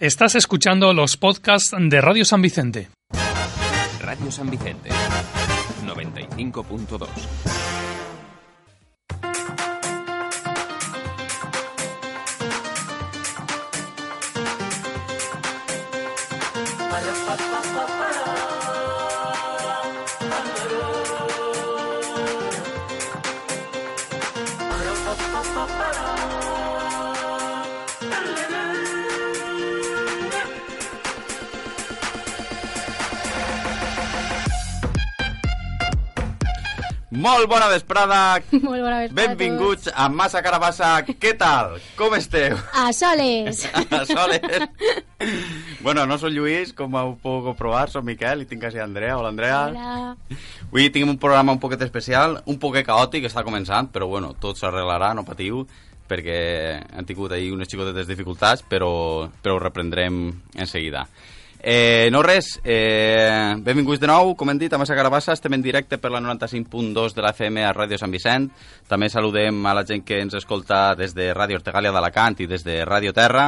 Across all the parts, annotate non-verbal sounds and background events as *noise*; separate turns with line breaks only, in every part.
Estás escuchando los podcasts de Radio San Vicente.
Radio San Vicente 95.2.
Molt bona vesprada,
*laughs* Molt bona vesprada
benvinguts a Massa Carabassa. Què tal? Com esteu?
A tots. A soles!
*laughs* Soles. Bueno, no sóc Lluís, com heu pogut comprovar, sóc Miquel i tinc quasi Andrea. Hola, Andrea.
*laughs* Hola.
Avui tinc un programa un poquet especial, un poquet caòtic, està començant, però bueno, tot s'arreglarà, no patiu, perquè han tingut ahir unes xicotetes dificultats, però, però ho reprendrem en seguida. Eh, no res, eh, benvinguts de nou, com hem dit, a Massa Carabassa, estem en directe per la 95.2 de la FM a Ràdio Sant Vicent. També saludem a la gent que ens escolta des de Ràdio Ortegàlia d'Alacant i des de Ràdio Terra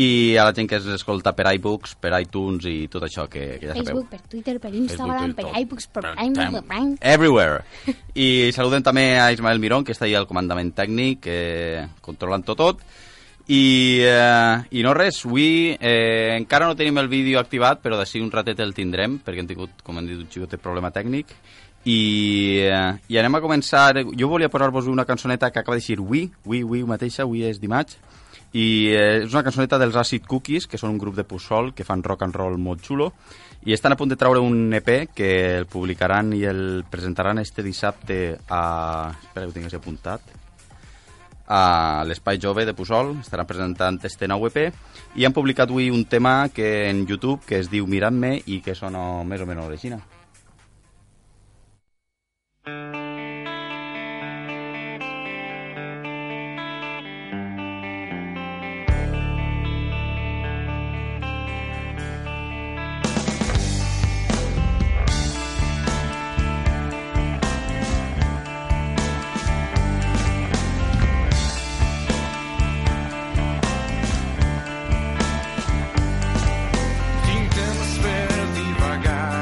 i a la gent que ens escolta per iBooks, per iTunes i tot això que, que ja sabeu.
Facebook, per Twitter, per Instagram, per iBooks, per Prime, per Prime.
Everywhere. I saludem també a Ismael Mirón, que està ahí al comandament tècnic, que controlant tot tot. I, eh, I no res, avui eh, encara no tenim el vídeo activat, però d'ací un ratet el tindrem, perquè hem tingut, com hem dit, un xicot de problema tècnic. I, eh, I anem a començar... Jo volia posar-vos una cançoneta que acaba de dir Wii, Wii, Wii mateixa, Wii és dimarts, i eh, és una cançoneta dels Acid Cookies, que són un grup de Pussol que fan rock and roll molt xulo, i estan a punt de treure un EP que el publicaran i el presentaran este dissabte a... Espera que ho tingués apuntat a l'Espai Jove de Pusol, estaran presentant este nou EP i han publicat avui un tema que en YouTube que es diu Mirant-me i que sona més o menys de Xina.
Tentamos ver devagar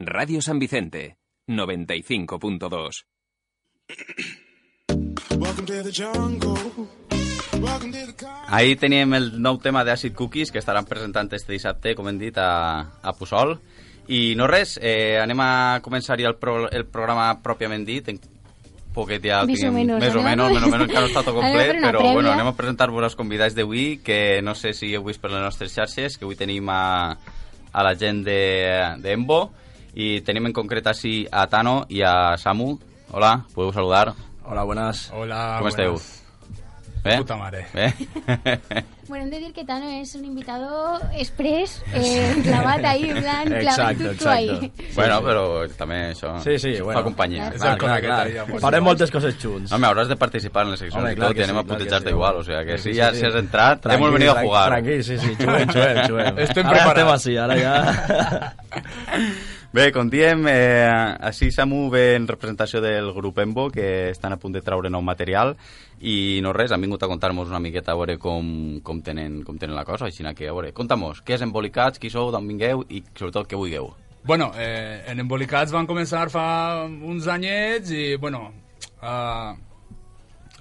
Radio San Vicente, 95.2.
Ahir teníem el nou tema d'Acid Cookies, que estaran presentant este dissabte, com hem dit, a, a Puçol. I no res, eh, anem a començar ja el, pro, el programa pròpiament dit, en poquet ja el
Més o
tenim,
menos,
més o
anem a-
menos, més o menos encara no està tot
*laughs* Anem a fer
complet,
una
però
prèvia.
bueno, anem a presentar-vos els convidats d'avui, que no sé si heu vist per les nostres xarxes, que avui tenim a, a la gent de- d'Embo, i tenim en concret així a Tano i a Samu. Hola, podeu saludar?
Hola, buenas.
Hola,
Com esteu?
Ah, buenas.
Eh? Bé?
Puta mare.
Bé?
Bueno, hem de decir que Tano es un invitado express, eh, clavat ahí, en plan,
Exacto,
clavitucho
exacto.
ahí.
bueno, però també això,
Sí, sí,
això
bueno.
fa companyia.
És
Clar,
el cosa
clar,
que
clar.
traíamos.
Farem moltes coses junts.
Home, hauràs de participar en les seccions
Home,
i
clar
tot,
que
i anem
sí,
a
clar que
putejar-te
sí.
igual, o sigui que
Sí,
si
sí,
ja
sí.
si has entrat,
Tranquil,
hemos venido a
tran-
jugar.
Tranquil, sí, sí, juguem, juguem, juguem.
*laughs* Estem
Ara
preparats.
estem així, ara ja...
*laughs*
*laughs* Bé, com diem, eh, així Samu ve en representació del grup Embo, que estan a punt de traure nou material, i no res, han vingut a contar-nos una miqueta a veure com, com, tenen, com tenen la cosa, així que, a veure, conta-mos, què és Embolicats, qui sou, d'on vingueu i sobretot què vulgueu.
Bueno, eh, en Embolicats van començar fa uns anyets i, bueno, eh,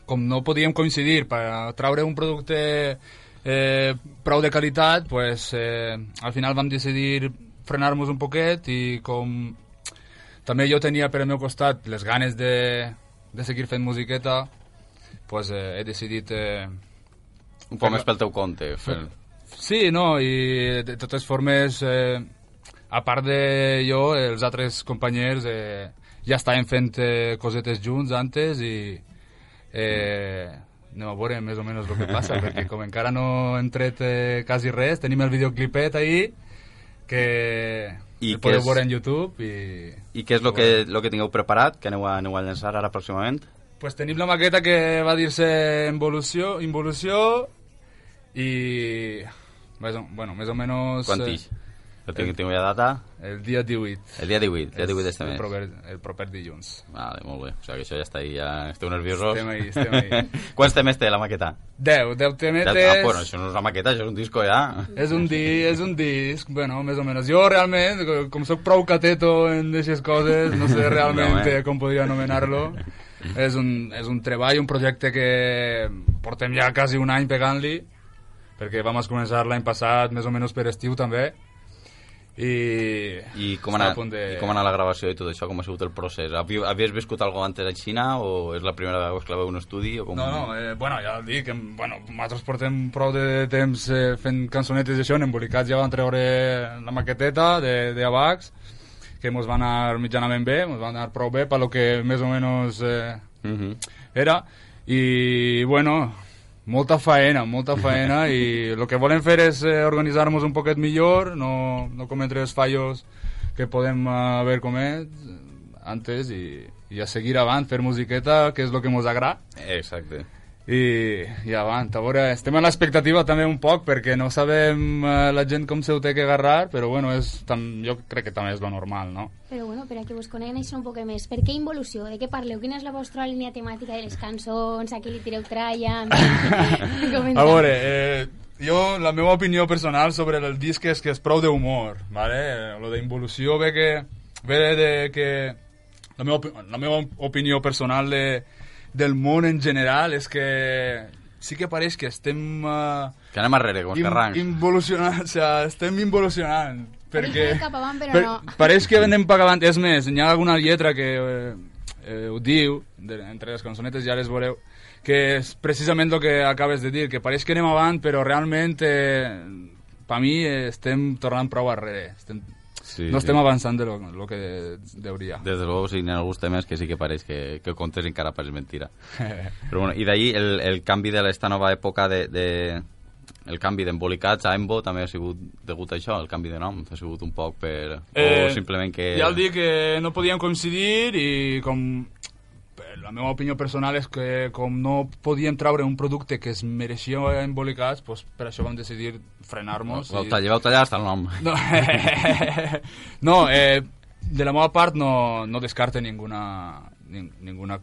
com no podíem coincidir per traure un producte eh, prou de qualitat, pues, eh, al final vam decidir frenar-nos un poquet i com també jo tenia per al meu costat les ganes de, de seguir fent musiqueta, pues, eh, he decidit eh,
Un poc més pel teu compte. Fer...
Sí, no, i de totes formes, eh, a part de jo, els altres companys eh, ja estàvem fent eh, cosetes junts antes i eh, anem a veure més o menys el que
*laughs*
passa, perquè com encara no hem tret eh, quasi res, tenim el videoclipet ahir, que
I
el
que
podeu
és-
veure en YouTube i...
I què és el que, lo que tingueu preparat, que aneu a, aneu a llançar ara pròximament?
Pues tenim la maqueta que va dir-se involució, involució i... Més o, bueno, més o menys...
Quan
eh,
tix? Jo tinc, tinc ja data?
El dia 18.
El dia 18, el dia 18 d'este
el
mes.
proper, el proper dilluns.
Vale, molt bé. O sigui que això ja està ahí, ja esteu nerviosos.
Estem ahí, estem ahí.
*laughs* Quants temes té la maqueta?
10, 10 temetes...
Ah, bueno, això no és una maqueta, això és un disco ja.
És un, di, és un disc, bueno, més o menys. Jo realment, co- com sóc prou cateto en aquestes coses, no
*laughs*
sé realment
No, eh?
eh, com podria anomenar-lo. És un, és un treball, un projecte que portem ja quasi un any pegant-li, perquè vam començar l'any passat, més o menys per estiu també, i...
I com,
està
anar,
a punt de-
I com anar la gravació i tot això, com ha sigut el procés? Havi- Havies viscut alguna antes a Xina o és la primera vegada que la veu en un estudi? O com...
No, no, eh, bueno, ja et dic, em, bueno, nosaltres portem prou de temps eh, fent cançonetes i això, en embolicats ja van treure la maqueteta de, de Abax, que mos va anar mitjanament bé, mos va anar prou bé, pel que més o menys eh,
Mhm.
era, i bueno, molta faena, molta faena,
*laughs*
i el que volem fer és eh, organitzar-nos un poquet millor, no, no cometre els fallos que podem eh, haver comès antes i, i a seguir avant, fer musiqueta, que és el que ens agrada,
Exacte.
i, i avant, a veure, estem a l'expectativa també un poc, perquè no sabem eh, la gent com se ho té que agarrar, però bueno, és, tam, jo crec que també és lo normal, no?
Però bueno, per a que vos coneguen això un poc més, per què involució? De què parleu? Quina és la vostra línia temàtica de les cançons? A qui li tireu tralla?
*laughs* A veure, eh, jo, la meva opinió personal sobre el disc és que és prou d'humor, vale? Lo d'involució ve que... ve de que... La meva, opi- la meva opinió personal de, del món en general és que sí que pareix que estem... Eh,
Que anem arrere, com els carrancs.
involucionant, o sigui, estem involucionant. Perquè...
Anem cap avant, però no.
Pareix que anem cap avant. És més, hi ha alguna lletra que eh, eh, ho diu, de, entre les cançonetes ja les veureu, que és precisament el que acabes de dir, que pareix que anem avant, però realment, eh, per mi, eh, estem tornant prou arrere. Estem,
Sí,
no
sí.
estem avançant de lo, lo que deuria.
Des de luego, sí, n'hi ha alguns temes que sí que pareix que, que contes encara pareix mentira. Però bueno, i d'ahir el, el canvi de l'esta nova època de, de el canvi d'embolicats a Embo també ha sigut degut a això, el canvi de nom. Ha sigut un poc per... Eh, o simplement que...
Ja el dic que no podíem coincidir i com... eh, La meva opinió personal és que com no podíem traure un producte que es mereixia embolicats, doncs per això vam decidir frenar-nos.
Vau tallar, vau tallar hasta el nom.
No, *laughs* no eh, de la meva part no, no descarte ninguna, nin, ninguna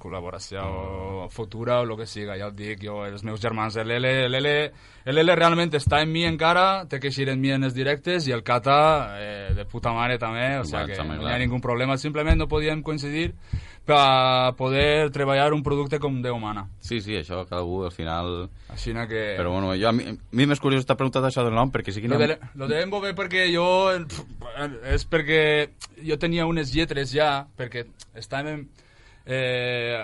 col·laboració futura o el que siga, ja el dic jo, els meus germans, el L, el L, el L realment està en mi encara, té que eixir en mi en els directes i el Cata eh, de puta mare també, o
Bueno,
sigui que
també,
no hi
clar.
ha ningú problema, simplement no podíem coincidir per poder treballar un producte com Déu mana.
Sí, sí, això cadascú al final...
Així que...
Però bueno, jo, a mi, a mi m'és curiós estar preguntat això del nom, perquè sí que
Lo,
no...
de, lo de Embo ve perquè jo... el- És perquè jo tenia unes lletres ja, perquè estàvem eh,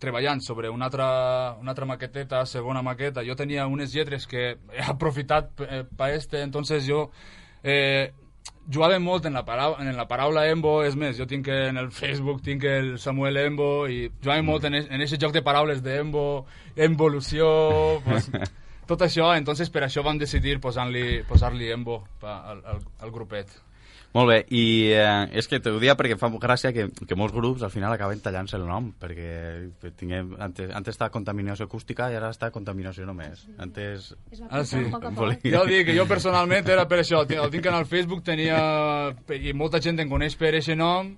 treballant sobre una altra, una altra maqueteta, segona maqueta. Jo tenia unes lletres que he aprofitat p- eh, per este, entonces jo... Eh, jugava molt en la, paraula, en la paraula Embo, és més, jo tinc en el Facebook tinc el Samuel Embo i jugava molt en, es- en aquest joc de paraules d'Embo, Emvolució, pues, tot això, entonces per això vam decidir posar-li posar Embo pa- al, al, al grupet.
Molt bé, i eh, és que t'ho dia perquè em fa gràcia que, que molts grups al final acaben tallant-se el nom, perquè tinguem, antes, antes estava contaminació acústica i ara està contaminació només. Antes...
Es va
Ah, sí.
cortar poc a poc.
Volia-
Ja ho dic, jo personalment era per això, el tinc en el Facebook, tenia... i molta gent em coneix per aquest nom,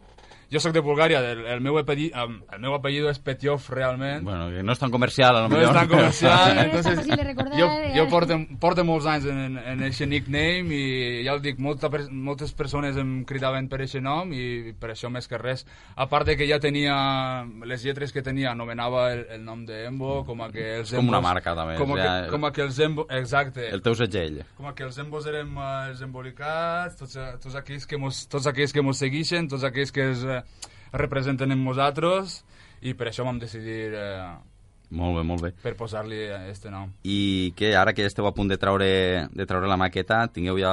jo sóc de Bulgària, el, el meu apellido, el meu apellido és Petiov realment,
Bueno, que no és tan comercial, a lo
eh? No és
millor.
tan
Sí,
comercial,
no és
Ah, entonces,
tan fàcil de recordar,
jo,
eh?
jo porto, porto molts anys en, en, en aquest nickname i ja el dic, molta, per- moltes persones em cridaven per aquest nom i per això més que res. A part de que ja tenia les lletres que tenia, anomenava el, el nom d'Embo, com a que els
És com una
Embos-
marca, també,
Com, a
ja-
que, com a que els Embo... Exacte.
*laughs* El teu segell.
Com a que els embos érem eh, els embolicats, tots, eh, tots, aquells que mos, tots aquells que mos segueixen, tots aquells que es eh, representen en nosaltres, i per això vam decidir eh,
Molt bé, molt bé.
per posar-li eh, este nom.
I que ara que esteu a punt de treure, de treure la maqueta, tingueu ja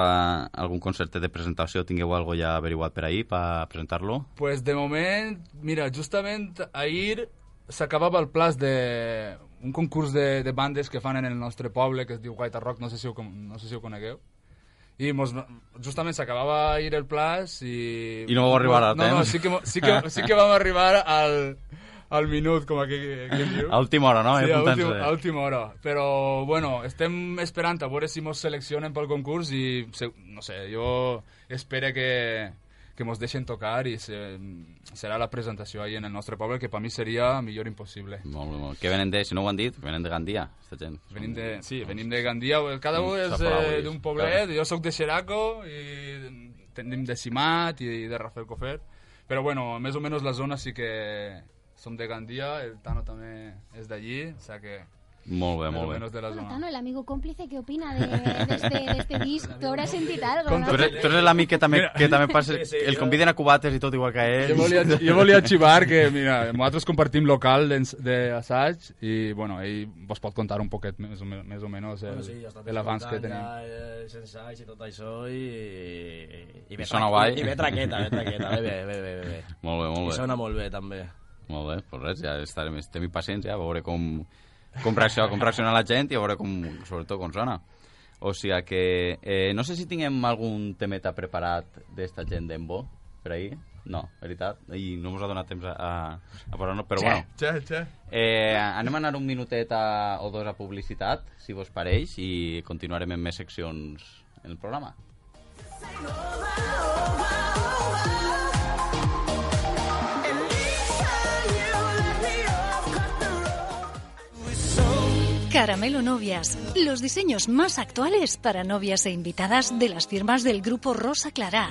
algun concert de presentació, tingueu algo ja averiguat per ahir per presentar-lo?
Pues de moment, mira, justament ahir s'acabava el plaç de un concurs de, de bandes que fan en el nostre poble, que es diu Guaita Rock, no sé si ho, con- no sé si ho conegueu. I mos, justament s'acabava ahir el plaç i...
I no vau arribar a
no, No,
temps.
sí que, mo- sí, que, sí que vam arribar al, al minut, com aquí, aquí en
*laughs*
diu.
A última hora, no? Eh?
Sí, a,
Apuntant-se.
última, a última hora. Però, bueno, estem esperant a veure si mos seleccionen pel concurs i, se- no sé, jo espero que, que mos deixen tocar i se, serà la presentació ahir en el nostre poble, que per mi seria millor impossible.
Molt bé, molt bé. Que venen de, si no ho han dit, venen de Gandia, aquesta gent.
Venim de, sí, venim de Gandia, cada
Mm,
un és
Safarauis,
eh, d'un poblet, jo sóc de Xeraco i tenim de Simat i de Rafael Cofer, però bueno, més o menys la zona sí que som de Gandia, el Tano també és d'allí, o sigui que
Molt bé,
més o
molt bé.
menys de la
Bueno,
zona.
Tano, el amigo cómplice, ¿qué opina de, de este, de este disc? Tú habrás sentido algo,
Tu
¿no?
eres, tu eres l'amic que també,
Mira.
que també passa...
Sí, sí,
el
jo-
conviden a cubates i tot igual que a
Jo
ells.
volia, jo volia xivar que, mira, nosaltres compartim local d'ens- d'assaig i, bueno, ell vos pot contar un poquet més o, me- més o menys el,
Bueno, sí, ja està
el l'abans que tenim.
Els ensaix eh, i tot això i... I,
I sona
tra-
guai.
I, i ve traqueta, ve traqueta, ve bé, ve bé, ve bé.
Molt bé, molt
I
bé.
sona molt bé, també.
Molt bé, doncs res, ja estarem, estem impacients ja, a veure com, com, reacciona, com reacciona la gent i a veure com, sobretot com sona. O sigui que eh, no sé si tinguem algun temeta preparat d'esta gent d'Embo per ahir. No, veritat. I no ens ha donat temps a, a, a posar-nos, però bueno.
Xe, xe.
Eh, anem a anar un minutet a, o dos a publicitat, si vos pareix, i continuarem amb més seccions en el programa.
Caramelo Novias, los diseños más actuales para novias e invitadas de las firmas del grupo Rosa Clará.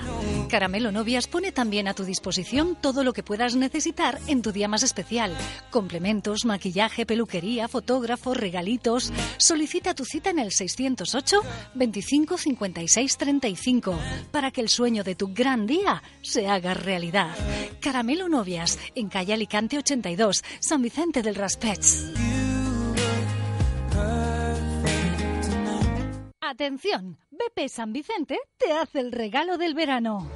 Caramelo Novias pone también a tu disposición todo lo que puedas necesitar en tu día más especial. Complementos, maquillaje, peluquería, fotógrafos, regalitos. Solicita tu cita en el 608 25 56 35 para que el sueño de tu gran día se haga realidad. Caramelo Novias, en calle Alicante 82, San Vicente del Raspech. Atención, BP San Vicente te hace el regalo del verano.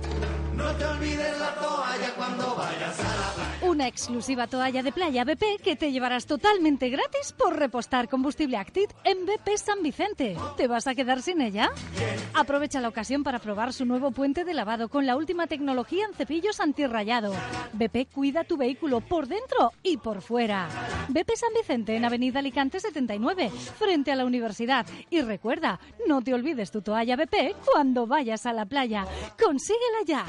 Una exclusiva toalla de playa BP que te llevarás totalmente gratis por repostar combustible Actit en BP San Vicente. ¿Te vas a quedar sin ella? Aprovecha la ocasión para probar su nuevo puente de lavado con la última tecnología en cepillos antirrayado. BP cuida tu vehículo por dentro y por fuera. BP San Vicente en Avenida Alicante 79, frente a la universidad. Y recuerda, no te olvides tu toalla BP cuando vayas a la playa. Consíguela ya.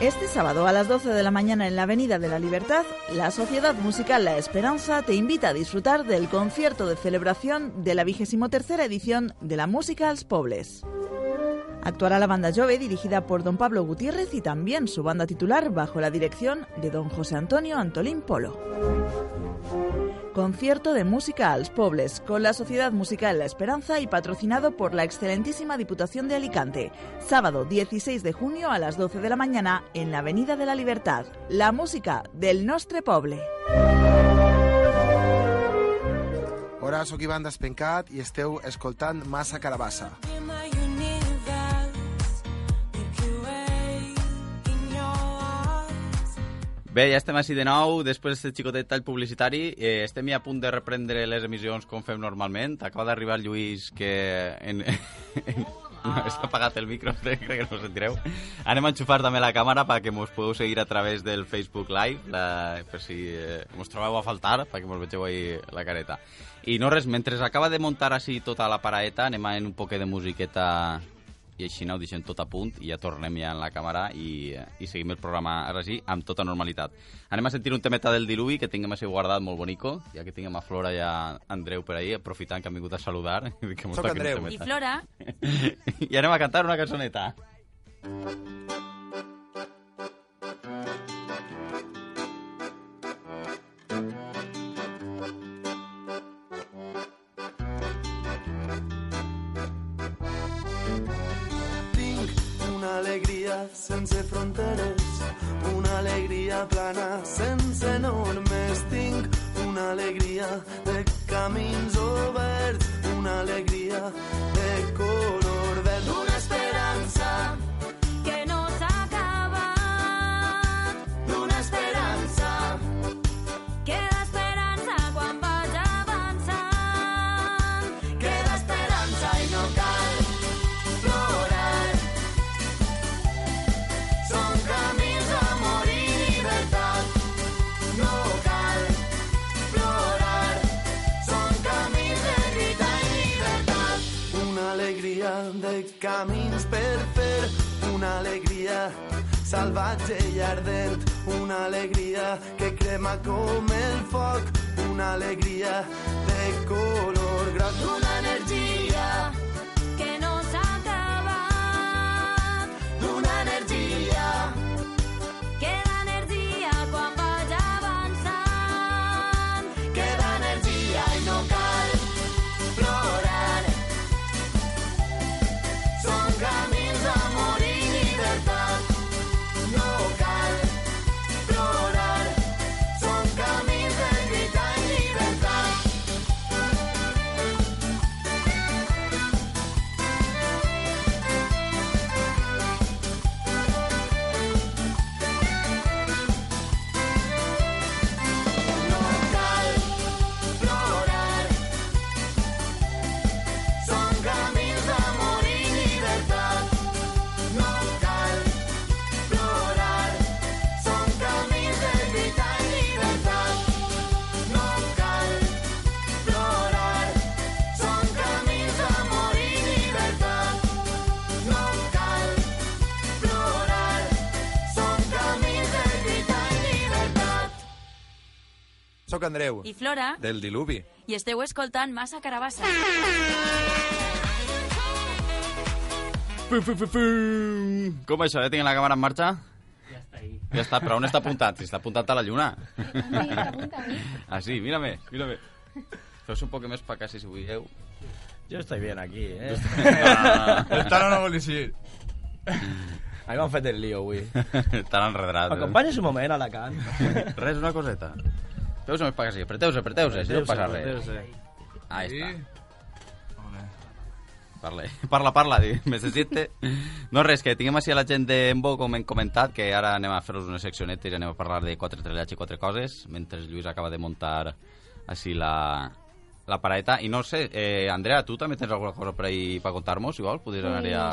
Este sábado a las 12 de la mañana en la Avenida de la Libertad, la Sociedad Musical La Esperanza te invita a disfrutar del concierto de celebración de la 23 edición de la Música als Pobles. Actuará la banda Jove dirigida por don Pablo Gutiérrez y también su banda titular bajo la dirección de don José Antonio Antolín Polo. Concierto de música als Pobles con la Sociedad Musical La Esperanza y patrocinado por la excelentísima Diputación de Alicante. Sábado 16 de junio a las 12 de la mañana en la Avenida de la Libertad. La música del Nostre Poble.
Hola, sóc Ivan Despencat i esteu escoltant Massa Carabassa.
Bé, ja estem així de nou, després d'aquest xicotet tall publicitari, eh, estem ja a punt de reprendre les emissions com fem normalment. Acaba d'arribar el Lluís, que... En, en, *laughs* no, està apagat el micro, *laughs* crec que no ho sentireu. Anem a enxufar també la càmera perquè mos podeu seguir a través del Facebook Live, la, per si eh, mos trobeu a faltar, perquè mos vegeu ahí la careta. I no res, mentre acaba de muntar així tota la paraeta, anem a en un poquet de musiqueta i així aneu deixant tot a punt i ja tornem ja en la càmera i, eh, i seguim el programa ara sí amb tota normalitat. Anem a sentir un temeta del diluvi que tinguem així guardat molt bonico, ja que tinguem a Flora i a Andreu per ahí, aprofitant que han vingut a saludar. *laughs* Que mos
Soc
toquen un
Andreu.
temeta.
I Flora,
*laughs* I anem a cantar una cançoneta.
Tinc una alegria sense fronteres, una alegria plana sense normes. Tinc una alegria de camins oberts, una alegria de color verd. Una esperança
que no s'acaba,
una esperança
queda esperança quan vas avançant.
queda esperança i no cal plorar. Són camins a morir i llibertat, no cal plorar. Són camins de lluita i llibertat. Una alegria de camins per fer, una alegria salvatge i ardent, una alegria que crema com el foc, una alegria de color groc, una energia
que no s'acaba.
d'una energia
Queda energia quan vaig avançant.
queda energia i no cal plorar són camins d'amor i llibertat no cal plorar són camins de lluita i llibertat No cal plorar. Són camins d'amor i llibertat. No cal plorar. Són camins de lluita i llibertat. No cal plorar. Són camins d'amor i llibertat. No cal plorar. Són camins de lluita i llibertat.
Soc Andreu,
I Flora,
del Diluvi.
i esteu escoltant Massa Carabassa.
Fu, fu, fu, fu. Com això, ja tinc la càmera en marxa? Ja està, però on està apuntat? Si Està apuntat a la lluna. *laughs* Ah, sí, mírame, mírame. Fes un poc més pa casi si vulgueu.
Jo estic bien aquí, *laughs* eh?
El Tano no vol dir
A mi m'han fet el lío avui.
Estan enredrat.
M'acompanyes un moment, Alacant?
Res, una coseta. Feu-se més pa que sí. Apreteu-se,
Pues
apreteu-se, si no passa res.
Adéu-siau.
Ah, està.
Hola.
Parle. Parla, *laughs* parla, di, necessite. No res, que tinguem així la gent d'Envo, com hem comentat, que ara anem a fer-vos una seccioneta i anem a parlar de quatre trellats i quatre coses, mentre Lluís acaba de muntar així la, la paraeta. I no sé, eh, Andrea, tu també tens alguna cosa per ahí per contar-nos, igual? Podries anar a...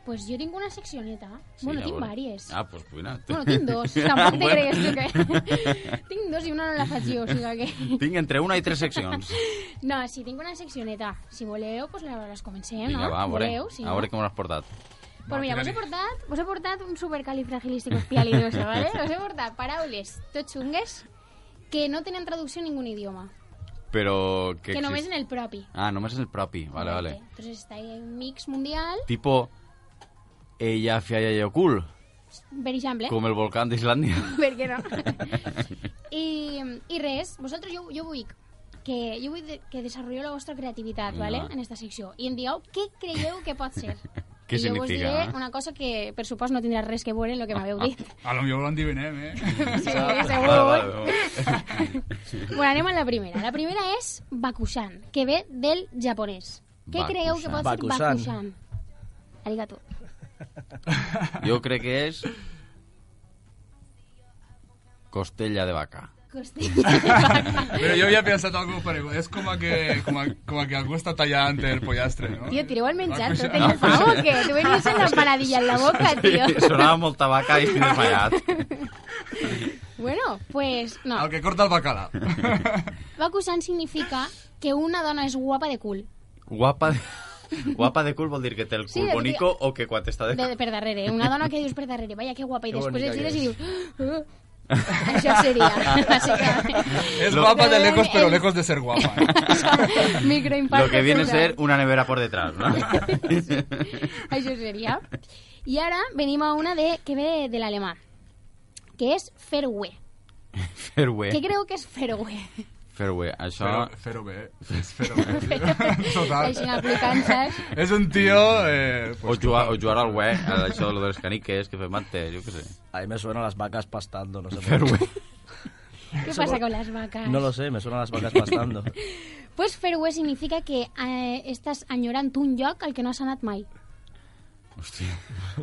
Pues yo tengo una seccioneta. bueno,
a
tengo
veure.
varias.
Ah, pues cuina.
*laughs* Bueno, tinc dos, tampoc te
Bueno.
cregues tu que... tinc dos i una no la faig jo, o sigui que...
*laughs*
*laughs*
Tinc entre una i tres seccions.
No, sí, tinc una seccioneta. Si voleu, pues la, les comencem,
Vinga,
no?
va, a veure,
Voleu, sí,
a veure com l'has portat.
Pues mira, vos he portat, vos he portat un supercalifragilisticoespialidoso, ¿vale? Vos he portat paraules tot xungues que no tenen traducció en ningún idioma,
Però...
que, que només en el propi.
Ah, només en el propi, vale, vale.
Entonces está ahí un mix mundial,
Tipo... Ella fialla i ocul,
per exemple.
com el volcán
*laughs*
d'Islàndia.
Per què no? I, I res, vosaltres jo, jo vull que jo vull de- que desenvolupeu la vostra creativitat,
Vinga,
¿vale?
va.
en esta secció. I em dieu què creieu que pot ser.
Què
I jo vos
significa,
diré
eh?
*laughs*
una cosa que, per supost, no tindrà res que veure amb el que m'haveu dit.
A lo millor l'endivinem, eh?
*laughs* Sí, segur. Vale, Bueno, anem a la primera. La primera és Bakushan, que ve del japonès. Què
Bakushan.
creieu que pot ser
Bakushan.
Bakushan? Arigato.
Jo crec que és... Costella de vaca.
Però jo havia pensat algo pareu. És com a que, com a, com a que algú està tallant el pollastre, no?
*laughs* Tio, tireu el menjar,
Bakushan.
tot en el pavo, que tu venies amb l'empanadilla en la boca, tio.
*laughs* Sonava molt tabaca i estic desmaiat.
Bueno, pues no.
El que corta el bacalà.
*laughs* Bakushan significa que una dona és guapa de cul.
Guapa
*laughs*
de... Guapa de cul vol dir que té el
Sí,
cul
de-
bonico o que quan està
De,
de...
de per darrere, eh? una dona que dius per darrere, vaya que guapa, i
Que
després
bonica
et gires
que
i dius... "Ah, ah". Això
*laughs*
seria, bàsicament. Eh,
És guapa
*laughs*
de lejos, però
El-
lejos de ser
*laughs*
guapa. eh?
Microinfarto
Lo que viene a
cerebral.
ser una nevera por
*laughs*
detrás, ¿no? *laughs*
Això seria. I ara venim a una de, que ve de l'alemà, que és Fairway.
Fairway.
Què creu que és Fairway?
Fairway, això...
Fer-ho- Fer-ho bé. És fer-ho bé. Total.
Així aplicant, saps?
És un tio... Eh,
O jugar, o jugar al web, *laughs* a això de lo de les caniques, que fem antes, jo què sé.
A mí me suenan las vacas pastando, no sé por
Fairway.
Què passa con las vacas?
No lo sé, me suenan las vacas pastando. *laughs*
Pues Fairway significa que eh, estàs enyorant un lloc al que no has anat mai.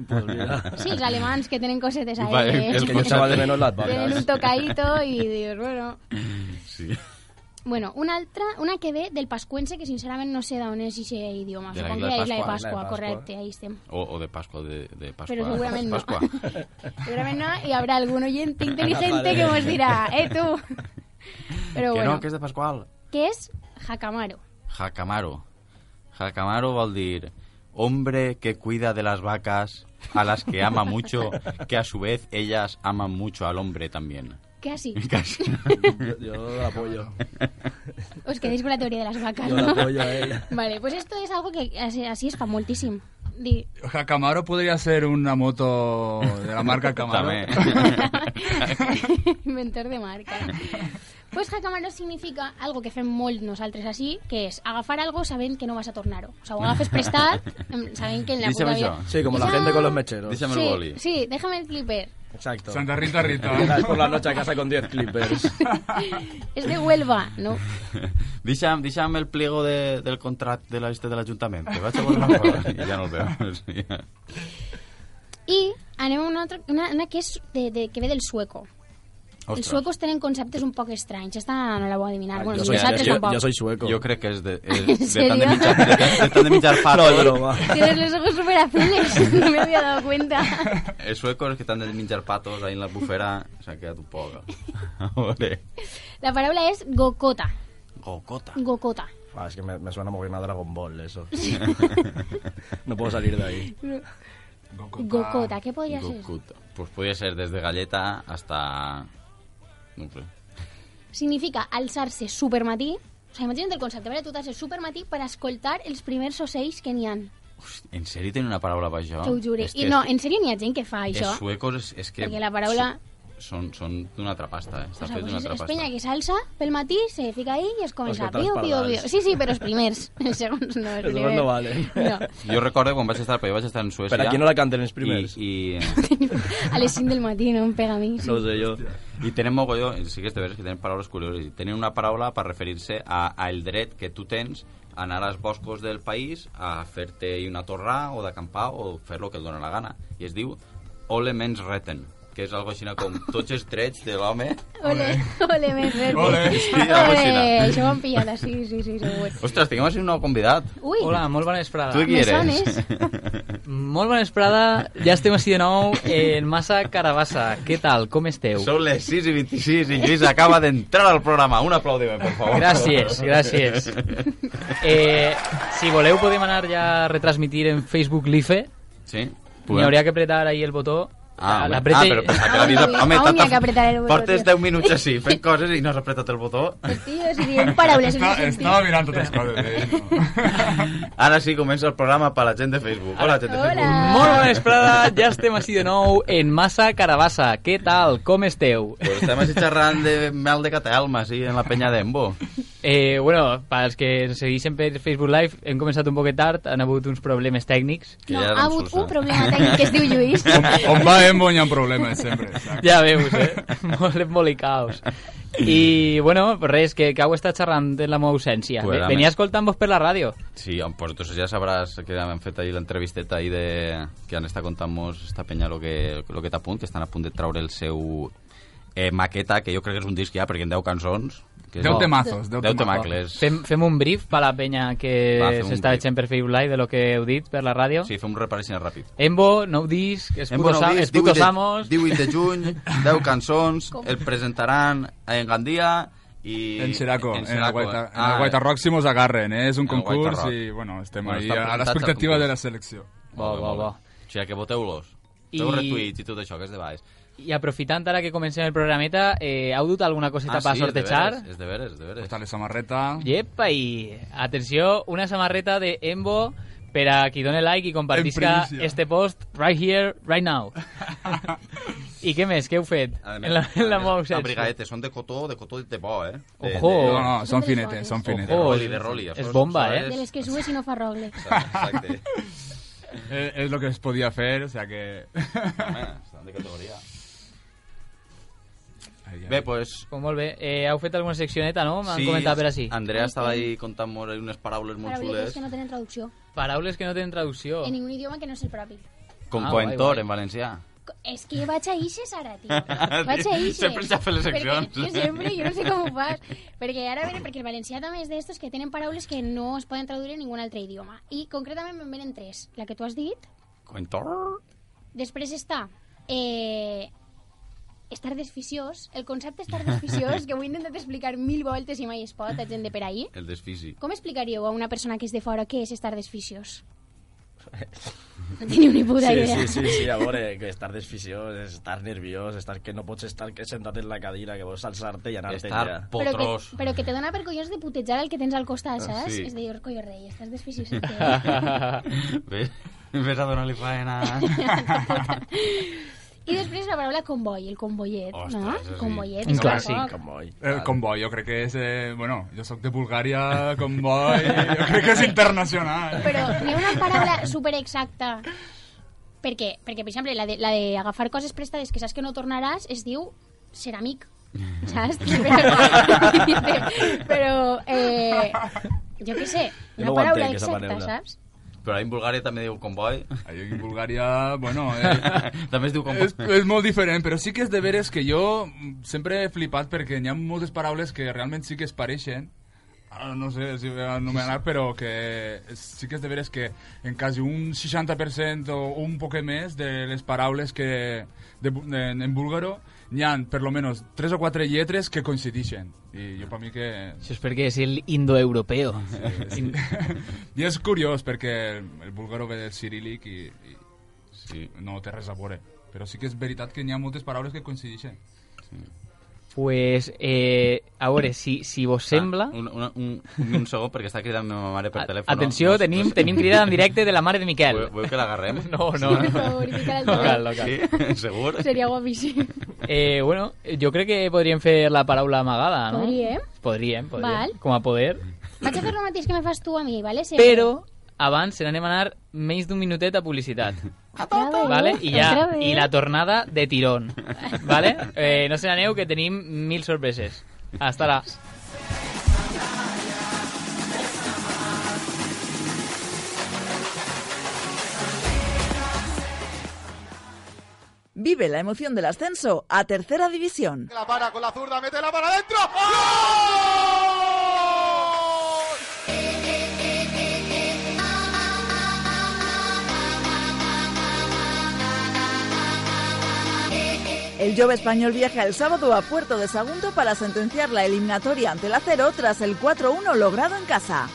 Pues mira.
Sí, els alemans que tenen cosetes ahí.
Vale,
eh?
es que yo echaba de menos las vacas.
Tenen un tocadito y dius, bueno...
Sí.
Bueno, una altra, una que ve del pascuense, que sincerament no sé d'on és aquest idioma.
De la
Supongo que
isla de
la isla de
Pasqua.
Pasqua,
Isla de Pasqua.
correcte, ahí estem.
O, o de Pascua, de, de Pascua.
Pero seguramente no. *laughs*
Pascua.
Segurament no, i habrá algun
*laughs*
oyente inteligente que mos dirà, eh, tu. Però
que
bueno,
no, que és de Pasqual.
que és jacamaro.
Jacamaro. Jacamaro vol dir hombre que cuida de las vacas a las que ama mucho, que a su vez ellas aman mucho al hombre *laughs* también.
Casi.
Casi.
Yo, yo la apoyo.
Os quedéis con la teoría de las vacas,
Yo
¿no?
la apoyo a ella.
*laughs* Vale, pues esto es algo que así, así es fa moltíssim. Di,
*laughs*
Camaro podría ser una moto de la marca Camaro.
Inventor de marca. Pues jacamaro significa algo que fem molt nosaltres així, que és agafar algo sabent que no vas a tornar-ho. O sigui, ho agafes prestat, em- sabent que en la puta vida...
Sí, como la
Deixa'm-
gente con los mecheros.
Déjame
sí, Sí, déjame el clipper. *laughs*
Exacto.
Santa Rita, Rita.
Llegas por la noche a casa con 10
*laughs*
clippers.
És de Huelva, no?
*laughs* Deixa'm, deixa'm el pliego de, del contracte de la llista de l'Ajuntament. que Vaig a veure una cosa. I *laughs* ja no el veu. Sí.
I anem a una altra, una, una que és de, de, que ve del sueco. Ostres. Els suecos tenen conceptes un poc estranys. Esta no la vau adivinar. bueno, ni vosaltres tampoc.
sueco.
Jo crec que és de,
*laughs* ¿En
és de
serio?
tant de mitjar, de, tant- de, tant de mitjar
*laughs*
fat.
No, broma.
Tienes los ojos super azules, *laughs* no me había dado cuenta.
Els suecos que t'han de menjar patos ahí en la bufera s'ha quedat un poc. *laughs* A veure.
La paraula és gokota.
Gocota.
Gokota.
Ah, es que me, me suena muy bien a Dragon Ball eso. *laughs* no puedo salir de ahí.
Gokota, ¿qué podría ser?
Gokuta. Pues podria ser desde galleta hasta... No sé.
Significa alçar-se supermatí, o sigui, imagina't el concepte, vale? tu t'has supermatí per escoltar els primers ocells que n'hi ha,
En sèrio tenen una paraula per això?
que ho jure.
És
I
que-
no, en sèrio n'hi ha gent que fa
Els
això,
suecos és, és que...
perquè la paraula...
Són, són d'una altra pasta, eh? Està
O
fet
sigui,
d'una
pues és,
altra
és
pasta.
penya que s'alça pel matí, se fica ahí i es comença.
Els que
Piu, piu,
transpardals.
piu. Sí, sí, però els primers. *laughs* Els segons no, els
Los demás
primers.
no valen.
No.
Jo recordo quan vaig estar, perquè vaig estar en Suècia...
Però aquí no la canten els primers.
I, i,
A les 5 del matí, no em pega a
*laughs*
mi. Sí.
No ho sé jo. I tenen mogolló, sí que és de veres que tenen paraules curioses, i tenen una paraula per referir-se a, a el dret que tu tens a anar als boscos del país a fer-te una torrà o d'acampar o fer lo que et dona la gana. I es diu Ole mens reten, que és algo així com tots els drets de l'home...
Ole, ole,
*laughs*
més verd.
Ole. Sí, algo així, no?
Ole, això ho han pillat, sí, sí, sí, segur.
Ostres, tinguem així un nou convidat.
Ui.
Hola, molt bona vesprada.
Tu de qui
Me
eres?
Molt bona vesprada, ja estem així de nou en Massa Carabassa. Què tal, com esteu?
*laughs* Són les 6 i 26 i Lluís acaba d'entrar al programa. Un aplaudiment, per favor.
Gràcies,
*laughs*
gràcies. Eh, si voleu podem anar ja a retransmitir en Facebook l'IFE.
Sí.
Ni
Podem-
hauria que apretar ahir el botó.
Ah,
La-
home.
l'apreta
Ah,
i-
però pensava que l'havies de-
Home,
home,
home,
tanta-
hi ha que apretar el botó,
portes
tio.
10 minuts així
*laughs*
fent coses i no has apretat el botó.
Pues, tío, es bien parables. en ese sentido.
Estava mirant totes coses. Eh?
Ara sí comença el programa per la gent de Facebook. Hola, gent de Facebook.
Molt bona vesprada, Ah, ja estem així de nou en Massa Carabassa. Què tal? Com esteu?
Pues estem així xerrant de mel de Catalma, sí, en la penya d'Embo.
Eh, bueno, pels que ens segueixen per Facebook Live, hem començat un poquet tard, han hagut uns problemes tècnics.
Que
No, ha hagut un problema tècnic que es diu Lluís.
*laughs*
On va hem bonyant
eh,
problemes, sempre.
Ja veus, eh? Molt *laughs* embolicaos. I, bueno, pues res, que, que heu estat xerrant en la meva ausència.
Pues,
Ve-
home.
Venia escoltant-vos per la ràdio.
Sí, home, pues entonces ja sabràs que hem fet ahir l'entrevisteta ahí de... que han estat contant-nos esta penya lo que, lo que t'apunt, que estan a punt de traure el seu eh, maqueta, que jo crec que és un disc ja, perquè en 10 cançons... Que és-
Deu temazos, deu
deu
temazos.
temacles.
Fem, fem un brief per la penya
Va,
que
fem un
s'està
brief.
echant per Facebook Live de lo que heu dit per la ràdio.
Sí, fem un repar així ràpid.
Embo, nou disc, Esputos, am- Esputos Amos...
18 de juny, 10 cançons, el presentaran en Gandia i...
En Seraco, en, el
Seraco.
Guaita, en
Ah,
el Guaita Rock si mos agarren, eh? és un
el Guaita
concurs
Rock.
i bueno, estem
Bueno,
ahí a- a
estan presentats al
l'expectativa
concurs.
de la selecció.
Bo, bo, bo.
O sigui, que voteu-los.
I-
Feu retuits i tot això, que és de baix.
I aprofitant ara que comencem el programeta, eh, heu dut alguna coseta per
és de
sortejar?
veres, Ah, és de veres, és de veres.
Està la samarreta...
Yepa, i atenció, una samarreta de Embo per a qui doni like i compartisca
En primícia.
este post right here, right
*laughs*
now. I què més? Què heu fet? en la, en la meva
La
ausència?
brigadeta, són de cotó, de cotó de bo, eh? De,
Ojo.
de-
No, no, són finetes, són
de
finetes.
roli, de roli. això
és bomba,
això
eh?
De les que subes y no farrogle.
Exacte.
Eh, és el que es podia fer, o sea que...
Home, estan de categoria. Bé, pues...
Pues molt bé. Eh, heu fet alguna seccioneta, no? M'han comentat per així.
Andrea estava ahí contant-nos ahí unes paraules molt
Parables
xules.
que no tienen traducción.
Paraules que no tenen traducció.
En ningún idioma que no es el propi.
Con
Ah, guai,
coentor,
guai.
en valencià.
Es que vaig a ixes ara,
*laughs*
tio. Vaig a ixes.
Sempre se fa les seccions.
Perquè, jo sempre, jo no sé com ho fas. Perquè ara ve, perquè el valencià també és d'estos que tenen paraules que no es poden traduir en ningun altre idioma. I concretament me'n venen tres. La que tu has dit,
Coentor?
després està... Eh, estar desficiós, el concepte estar desficiós, que ho he intentat explicar mil voltes i mai es pot, a gent de per ahí.
El desfisi.
Com explicaríeu a una persona que és de fora què és estar desficiós? No teniu ni puta
sí,
idea.
Sí, sí, sí, a veure, que estar desficiós, estar nerviós, estar que no pots estar que sentat en la cadira, que vols alçar-te i anar-te'n
Estar
ja.
Però que, però que te dona per collons de putejar el que tens al costat, saps?
Sí.
És de dir, collor rei, estàs desficiós.
*laughs* Ves, ves a donar-li faena.
*laughs*
I després la paraula convoi, el convoiet,
Ostres,
no?
això sí.
Convoiet. és
Un clàssic.
poc.
Convoi.
El convoi, Eh, jo crec que és... Eh, bueno, jo sóc de Bulgària, convoi... Jo crec que és internacional.
Però n'hi ha una paraula superexacta perquè, perquè per exemple, la de, la de agafar coses prestades que saps que no tornaràs es diu ceràmic, saps? Però, però eh, jo què sé,
Jo
una
no ho
paraula
entenc, aquesta
exacta,
paraula.
saps?
Però ahí en Bulgària també diu convoi.
Allò en Bulgària, bueno... Eh,
*laughs* També es diu convoi.
és, és molt diferent, però sí que és de veres que jo mm, sempre he flipat perquè hi ha moltes paraules que realment sí que es pareixen Ara no sé si ho he anomenar, però que és- sí que és de veres que en quasi un 60% o un poc més de les paraules que de, bu- de, en búlgaro n'hi ha per lo menos 3 o 4 lletres que coincidixen. I
Ah.
jo per mi que
Això és perquè és el *laughs* indoeuropeo.
*laughs*
In-
i és curiós perquè el, el búlgaro ve del cirílic i, i sí. no té res a veure. Però sí que és veritat que n'hi ha moltes paraules que coincideixen.
Pues, eh, a veure, si, si vos sembla...
Ah, Un, un, un, un segon, perquè està cridant la meva mare per telèfon.
Atenció,
No sé-
tenim, tenim crida en directe de la mare de Miquel.
Voleu, voleu que l'agarrem?
*laughs* No, no, no.
Per favor, fica el
*laughs*
No cal,
telèfon.
no cal.
Sí, *laughs* segur?
Seria guapíssim.
Eh, bueno, jo crec que podríem fer la paraula amagada, Ah, no?
Podríem.
Podríem, podríem.
Val.
Com a poder.
eh? Vaig a fer el mateix que me fas tu a mi, vale? Sí.
Però abans se n'anem a anar menys d'un minutet a publicitat. Vale? I, ja, I la tornada de tirón. Vale? Eh, no se n'aneu que tenim mil sorpreses. Hasta ara.
Vive la emoción del ascenso a tercera división.
La para con la zurda, métela para adentro.
El Jove español viaja el sábado a Puerto de Sagunto para sentenciar la eliminatoria ante el acero tras el 4-1 logrado en casa.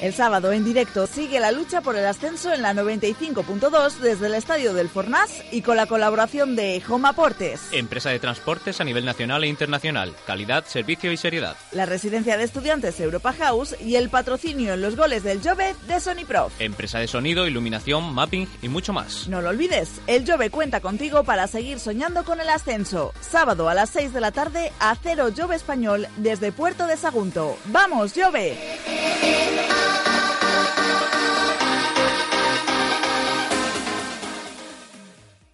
El sábado en directo sigue la lucha por el ascenso en la 95.2 desde el estadio del Fornás y con la colaboración de Home Aportes.
Empresa de transportes a nivel nacional e internacional. Calidad, servicio y seriedad.
La residencia de estudiantes Europa House y el patrocinio en los goles del Jove de Sony Prof.
Empresa de sonido, iluminación, mapping y mucho más.
No lo olvides, el Jove cuenta contigo para seguir soñando con el ascenso. Sábado a las 6 de la tarde a Cero Jove Español desde Puerto de Sagunto. ¡Vamos, Jove!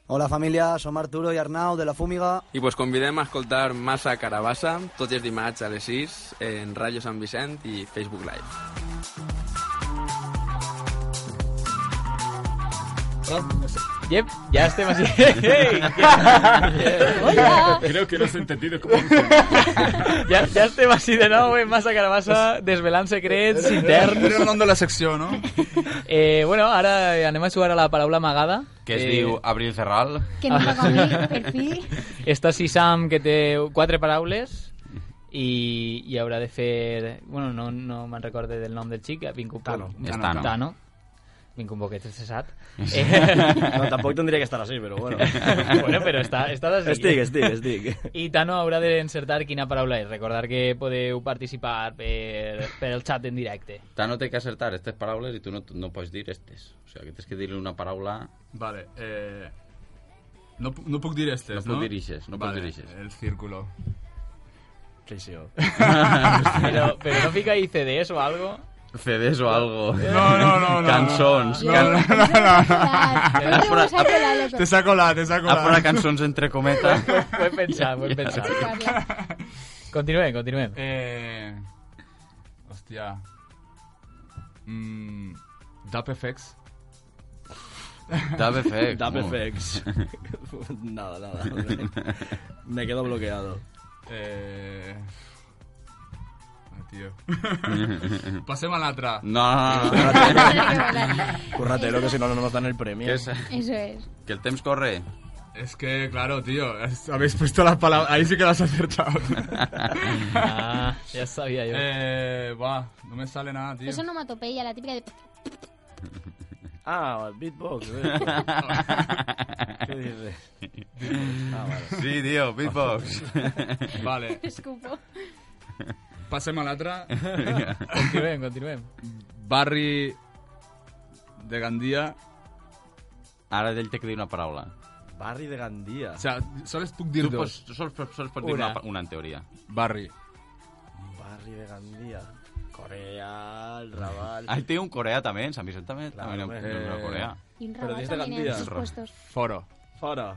Hola familia, som Arturo i Arnau de La Fúmiga.
I vos convidem a escoltar Massa Carabassa tots els dimarts a les 6 en Ràdio Sant Vicent i Facebook Live.
Yep, ya estem así. *laughs*
Hola. Creo que no has entendido cómo.
ya, ya estem así de nou en Massa Carabassa desvelant
*laughs*
secrets interns.
Anem parlant de la secció, no?
Eh, bueno, ara anem a jugar a la paraula amagada. eh,
Que es diu Abril Ferral.
Que no m'ha per fi.
Està Sisam, que té quatre paraules i, i haurà de fer... Bueno, no, no me'n recorde del nom del xic, ha vingut...
Tano.
Tano.
Tano.
Tano. Vinc un poquet cessat.
Sí. No, tampoc tindria que estar així, però bueno.
Eh, *laughs* bueno, però està, estàs així.
Estic, estic, estic.
I Tano haurà d'encertar quina paraula és. Recordar que podeu participar per, per el xat en directe.
Tano té que acertar aquestes paraules i tu no, no pots dir aquestes. O sigui, que tens que dir-li una paraula...
Vale, eh... No, pu- no puc dir estes, no?
No puc dir ixes, no puc
vale,
dir ixes.
el círculo.
Traïció.
però, però no fica ahí CDs o algo?
CDs o algo.
No, no, no, no.
Cançons.
No,
*laughs*
no, no, no.
Ha posat- ha-
Te s'ha colat, te s'ha colat.
Ha posat cançons entre cometes.
Ho he pensat, ho he pensat. Continuem, continuem.
Eh... Hòstia. Mm... Dapfx.
Dapfx.
Dame *laughs* FX. nada, nada. Me quedo *laughs* bloqueado.
Eh... *sighs* Ai,
*laughs*
tio. Passem a l'altra.
No.
Curratelo, que si no, no nos dan el premio.
Eso
es.
Que el temps corre.
Es que, claro, tío, es- habéis puesto las palabras... Ahí sí que las has *laughs* acertado.
Ah, ya sabía yo.
Eh, va, no me sale nada, tío.
Eso no matopeya, la típica de... *laughs*
Ah, beatbox. *laughs* eh. ¿Qué dices?
Ah, vale.
Sí, tío, beatbox.
Vale.
Escupo.
Passem a l'altra.
continuem, continuem.
Barri de Gandia.
Ara ell té que dir una paraula.
Barri de Gandia.
O sea, sols puc dir
tu
dos.
pots, sols, pots- sols pots dir
Una.
una, pa- una en teoria.
Barri.
Barri de Gandia. Corea, el Raval.
Ah, té un coreà també, en Sant Vicent també.
Claro,
també
hombre.
eh... un coreà.
Y un
Pero
rabal
dices de
también en
Gandía.
esos puestos.
*laughs* Foro.
*laughs* Fora.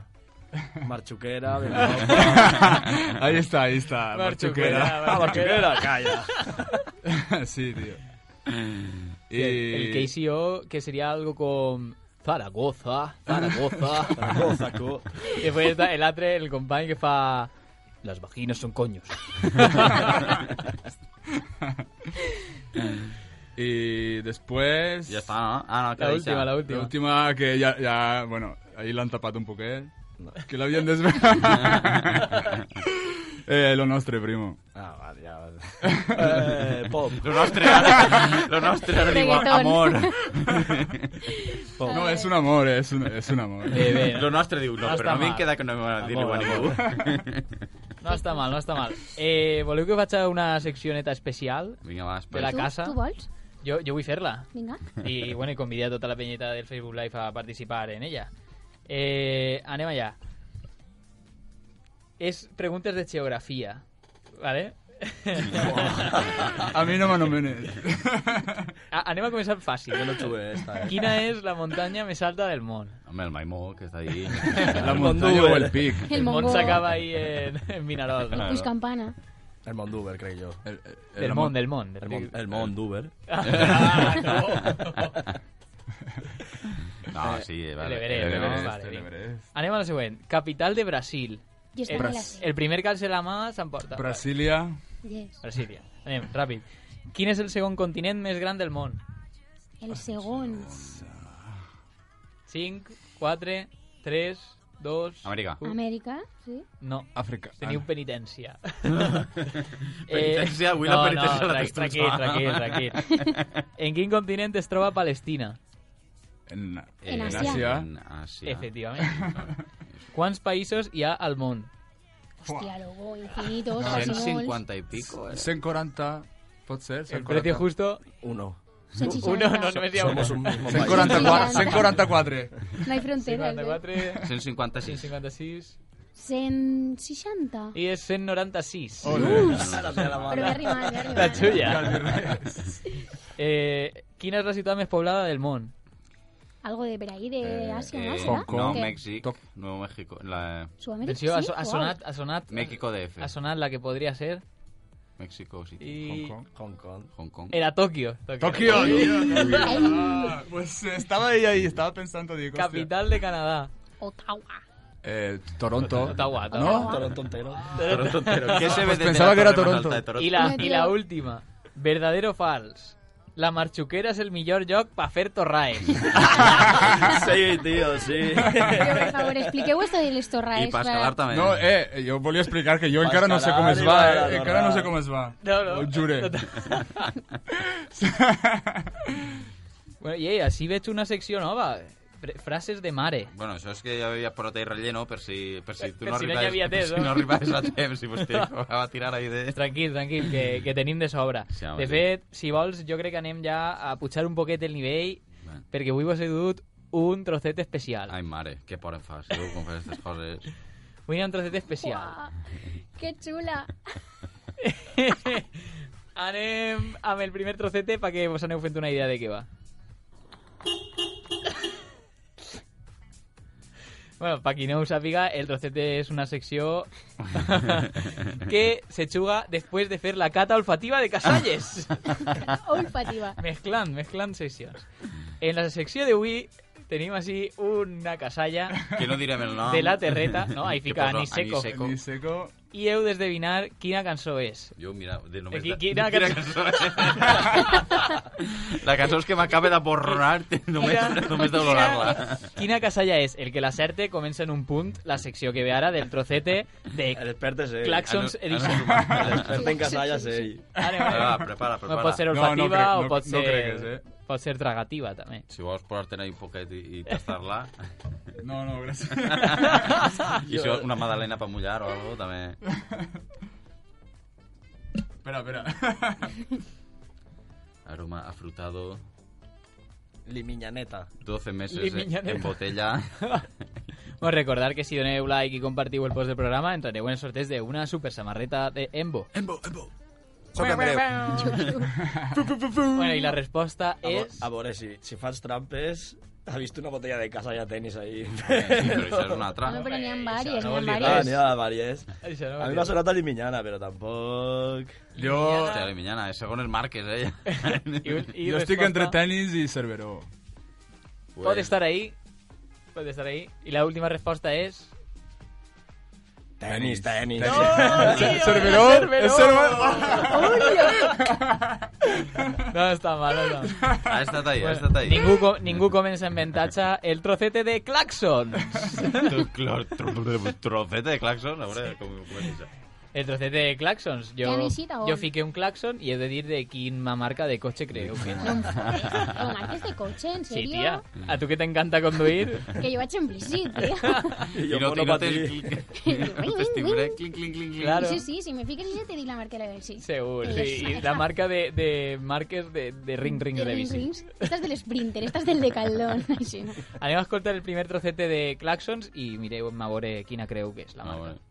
Marchuquera, *laughs* Ah,
ahí está, ahí está.
Marchuquera,
Marchuquera.
ah, Marchuquera, calla.
*laughs*
pues.
sí, tío.
Y... El, el KCO, que sería algo con... Zaragoza, *laughs* Zaragoza.
Zaragoza, co.
Y después está el atre, el compañero que fa... Las vaginas son coños.
Y después... Ya está,
¿no? Ah, no,
La última, la última.
La última que ya, ya bueno, ahí la han tapado un poquet. Que la habían *laughs*
*laughs*
desvelado. eh, lo nostre, primo.
Ah, vale, ja. vale.
Eh,
pop.
Lo nostre, ara- lo nostre, ara diu
Reggaeton.
amor.
Pop.
No, és un amor, és un, és un *laughs* amor.
*laughs* Bé, bé.
Lo nostre diu, no,
No
però
està
no m'he
mal.
quedat que no m'ha dit ningú a ningú.
No està mal, no està mal. Eh, voleu que faig una seccioneta especial?
Vinga, va,
De
espera.
la
Tu-
casa.
tu vols?
Jo, jo vull fer-la.
Vinga.
*laughs* I, bueno, i convidar a tota la penyeta del Facebook Live a participar en ella. Eh, anem allà. És preguntes de geografia, ¿vale?
A mi no m'anomenes.
A, Ah, anem a començar fàcil.
Jo no tuve esta, eh.
Quina és la muntanya més alta del món?
Home, el Maimó, que està ahí.
La muntanya o el pic.
El
món
Mongol.
s'acaba ahí en, en Vinarol.
El
No?
Pus Campana.
El Mondúber, crec jo.
El,
el Del món, món- del món, del
El,
món.
món, el Mondúber.
Ah,
No, sí, vale. Eh,
L'Everest,
Este
l'Everest, vale, vinga. Anem a la següent. Capital de Brasil.
Jo
El,
estava a la C.
el primer calç a la mà s'emporta.
Brasília.
Yes.
Brasília. Anem, ràpid. Quin és el segon continent més gran del món?
El segón.
5, 4, 3, dos...
Amèrica.
u-
Amèrica, sí.
No.
Àfrica.
Teniu penitència.
Penitència? Avui la
no,
penitència
no,
la
tra-
tens tu
tranquil,
sola.
tranquil, tranquil. en quin continent es troba Palestina?
En,
En Àsia.
Eh, En Àsia.
Efectivament. Quants països hi ha al món?
Hòstia, loco, infinitos,
No,
quasi
cent
molts.
cinquanta i pico,
Ah,
eh?
140, pot ser?
El precio justo...
Uno.
Cent seixanta. Uno, no, només hi ha uno.
Somos un mismo país.
144. 144.
No hay fronteras, eh?
54,
156.
156...
160.
I és 196.
Ole. Uf. Ara té la mala. Però m'he arrimat, m'he arrimat.
La tuya.
Calvirres.
eh, quina és la ciutat més poblada del món?
Algo de por ahí, de Asia,
Eh,
¿no? ¿Será?
Hong Kong,
¿Qué?
Mèxic, Nuevo México. La...
Sudamérica,
Atenció, ha,
sí,
so- ha
wow.
sonat, ha sonat...
México DF.
Ha sonat la que podria ser...
México City.
Y- Eh,
Hong Kong.
Hong Kong.
Hong Kong.
Era Tokio.
Tokio, tío.
Ay.
Pues estaba ella ahí, estaba pensando, digo. hostia.
Capital de Canadá.
Ottawa. *laughs*
Eh, Toronto.
Ottawa,
¿No?
Ottawa.
Toronto entero. *laughs*
Toronto entero.
¿Qué se
Pues
ve
pensaba
que era Toronto.
I la, i la última. Verdadero o fals? La marxuquera és el millor lloc pa fer torraes.
Sí, tío,
*laughs*
sí.
Por favor, expliqueu esto del estorraes.
I per escalar també.
No, eh, yo volví a explicar que yo encara no sé
Pascalar
cómo es
i
va,
Badalona.
eh, encara no sé cómo es va.
No, no.
Ho jure.
*laughs* bueno, i ei, així veig una secció nova. Fr- Frases de mare.
Bueno, això és que ja havia por ahí relleno per si, per si tu
Per
no
si no hi
arribaves,
havia temps,
*laughs* per si
no?
no arribaves a temps i vostè pues va tirar ahí de...
Tranquil, tranquil, que, que tenim de sobra.
Sí, home,
de
sí.
fet, si vols, jo crec que anem ja a pujar un poquet el nivell, perquè avui vos he dut un trocet especial.
Ai, mare, que por em fas, tu, com fas aquestes coses.
Avui hi ha un trocet especial.
Uah, Qué chula. *laughs*
Anem amb el primer trocete perquè vos aneu fent una idea de què va. Bueno, para qui no ho sàpiga, el trocete és una secció que se xuga després de fer la cata olfativa de Casalles.
Olfativa.
Mezclant, mezclant sessions. En la secció d'avui tenim així una casalla
Que no direm el nom.
de la terreta, no? Ahí fica
Que posa
anís seco.
anís seco. Anís
seco.
I heu d'esdevinar quina cançó és.
Jo, mira, de només...
Qui-
de-
quina
de
cançó?
cançó. la cançó és que m'acaba
*laughs*
d'aborrar només, només d'olorar-la.
Quina casalla és? El que l'acerte comença en un punt la secció que ve ara del trocete
*laughs*
de
Despertes, eh. Ah,
Claxons
no-
Edition.
ah, no. pues El desperten casalles, eh.
Vale, vale.
Va, prepara, prepara.
Pot ser
No, no
olfativa
crec- no-
o pot
no
ser...
cregues, eh.
Pot ser tragativa, també.
Si vols posar-te ahí un poquet i, i
*laughs*
tastar-la.
No, no, gràcies.
I si vols una madalena per mullar o alguna també.
Espera, espera.
Aroma afrutado.
Limiñaneta.
12 meses
Limiñaneta. *laughs*
en botella.
Vos recordar que si doneu like i compartiu el post del programa entrareu en el sorteig d'una super samarreta de Embo.
*laughs* Embo, Embo.
Soc Andreu.
*laughs* bueno, i la resposta
A, vo-
és...
a veure, si, si fas trampes, ha vist una botella de casa ja tenis ahí. Sí, *laughs*
però això és una altra.
No, però n'hi ha vàries,
no vol
n'hi ha
dir
Ah,
vàries.
n'hi ha vàries.
Això no
a mi
vol
m'ha
dir.
sonat a Limiñana, però tampoc...
Jo...
Hòstia, la minyana, eh? segones marques,
*laughs*
eh?
Jo estic entre tenis i Cerveró.
Pot estar ahí. Pot estar ahí. I la última resposta és...
Tenis, tenis. *laughs*
Tenis.
No,
Cer-
tío,
Cerveró,
Cerveró.
és
No, no està mal, no està mal.
Ha estat ahí, ha estat ahí.
Ningú, co- ningú comença en avantatge el trocete de Claxon.
Tu, clor, tro- tro- trocete de claxon, a veure com ho comença.
El trocete de Claxons. Jo,
Què necessita,
jo
on?
fiqué un Claxon i he de dir de quina marca de cotxe creu que és.
Lo marques de este coche, en
Sí,
serio.
tia. A tu que t'encanta conduir...
*laughs* Que yo he hecho en
*laughs*
bici, tío.
I no, i no tens clic, no tens timbre, clic, clic, clic, clic.
Claro.
Sí, sí, si me fijas ya te di la marca de la bici.
Segur,
Sí,
sí.
sí.
I la marca de, de marques de, de ring ring
De
de
ring
bici.
rings. Esta es del Sprinter, esta es del Decathlon. *laughs* Així, no?
Anem a escoltar el primer trocete de Claxons i mireu-me a veure quina creu que és la
Ah,
marca.
bueno.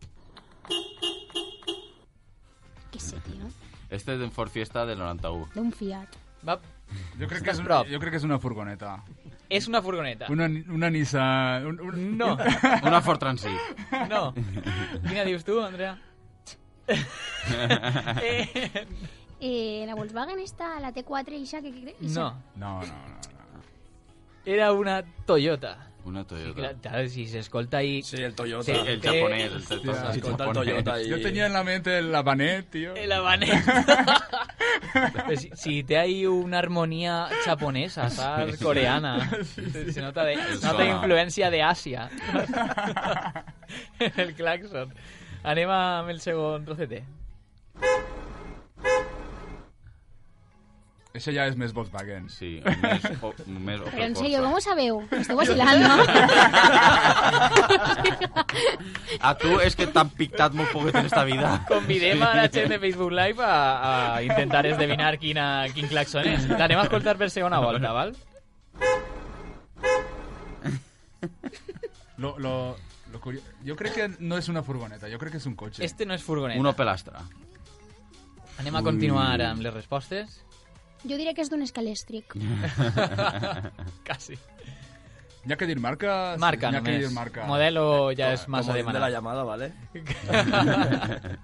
Què sé, tio.
Este és d'en Ford Fiesta del 91.
D'un Fiat.
Va,
Jo crec, que és,
prop.
jo crec que és una furgoneta.
és una furgoneta.
Una, una Nissan... Un, un...
No.
*laughs* Una Ford Transit.
No. Quina dius tu, *laughs* Andrea? eh,
Eh, la Volkswagen esta, la T4 i xa, que què creus?
no,
No, no, no.
era una Toyota.
Una
Sí,
Toyota.
clar, clar, si s'escolta ahí...
Sí, el Toyota.
Sí,
El japonès, el, el, el,
Hòstia,
el,
escolta el
japonès.
Toyota i-
*laughs*
Yo tenía en la mente el Habanet, tío.
El habanero. Però Pues Si, si té ahí una armonía japonesa, ¿sabes?
Sí.
Coreana. Se, se nota, de, nota influencia
*laughs*
de Asia. *laughs* el claxon. Anem amb el segon trocete.
Això ja és més Volkswagen.
Sí, més, o, més
Pero en serio, ¿cómo sabeu?
*laughs*
Estou vacilando.
A Ah, tu és que t'han pictat molt poquet en esta vida.
*laughs* Convidem a la gent de Facebook Live a, a intentar esdevinar quina, quin claxon és. L'anem a escoltar per segona volta, val?
Lo, lo, lo curio- Yo creo que no es una furgoneta, yo creo que es un coche.
Este no es furgoneta.
Un Opel Astra.
Anem a continuar amb les respostes.
Jo diré que és d'un
*laughs*
*laughs* escalèstric.
Casi.
Ya que dir marca...
Marca
ya que
només.
dir marca.
Modelo ja és
Como
massa
de
demanar.
la llamada, ¿vale?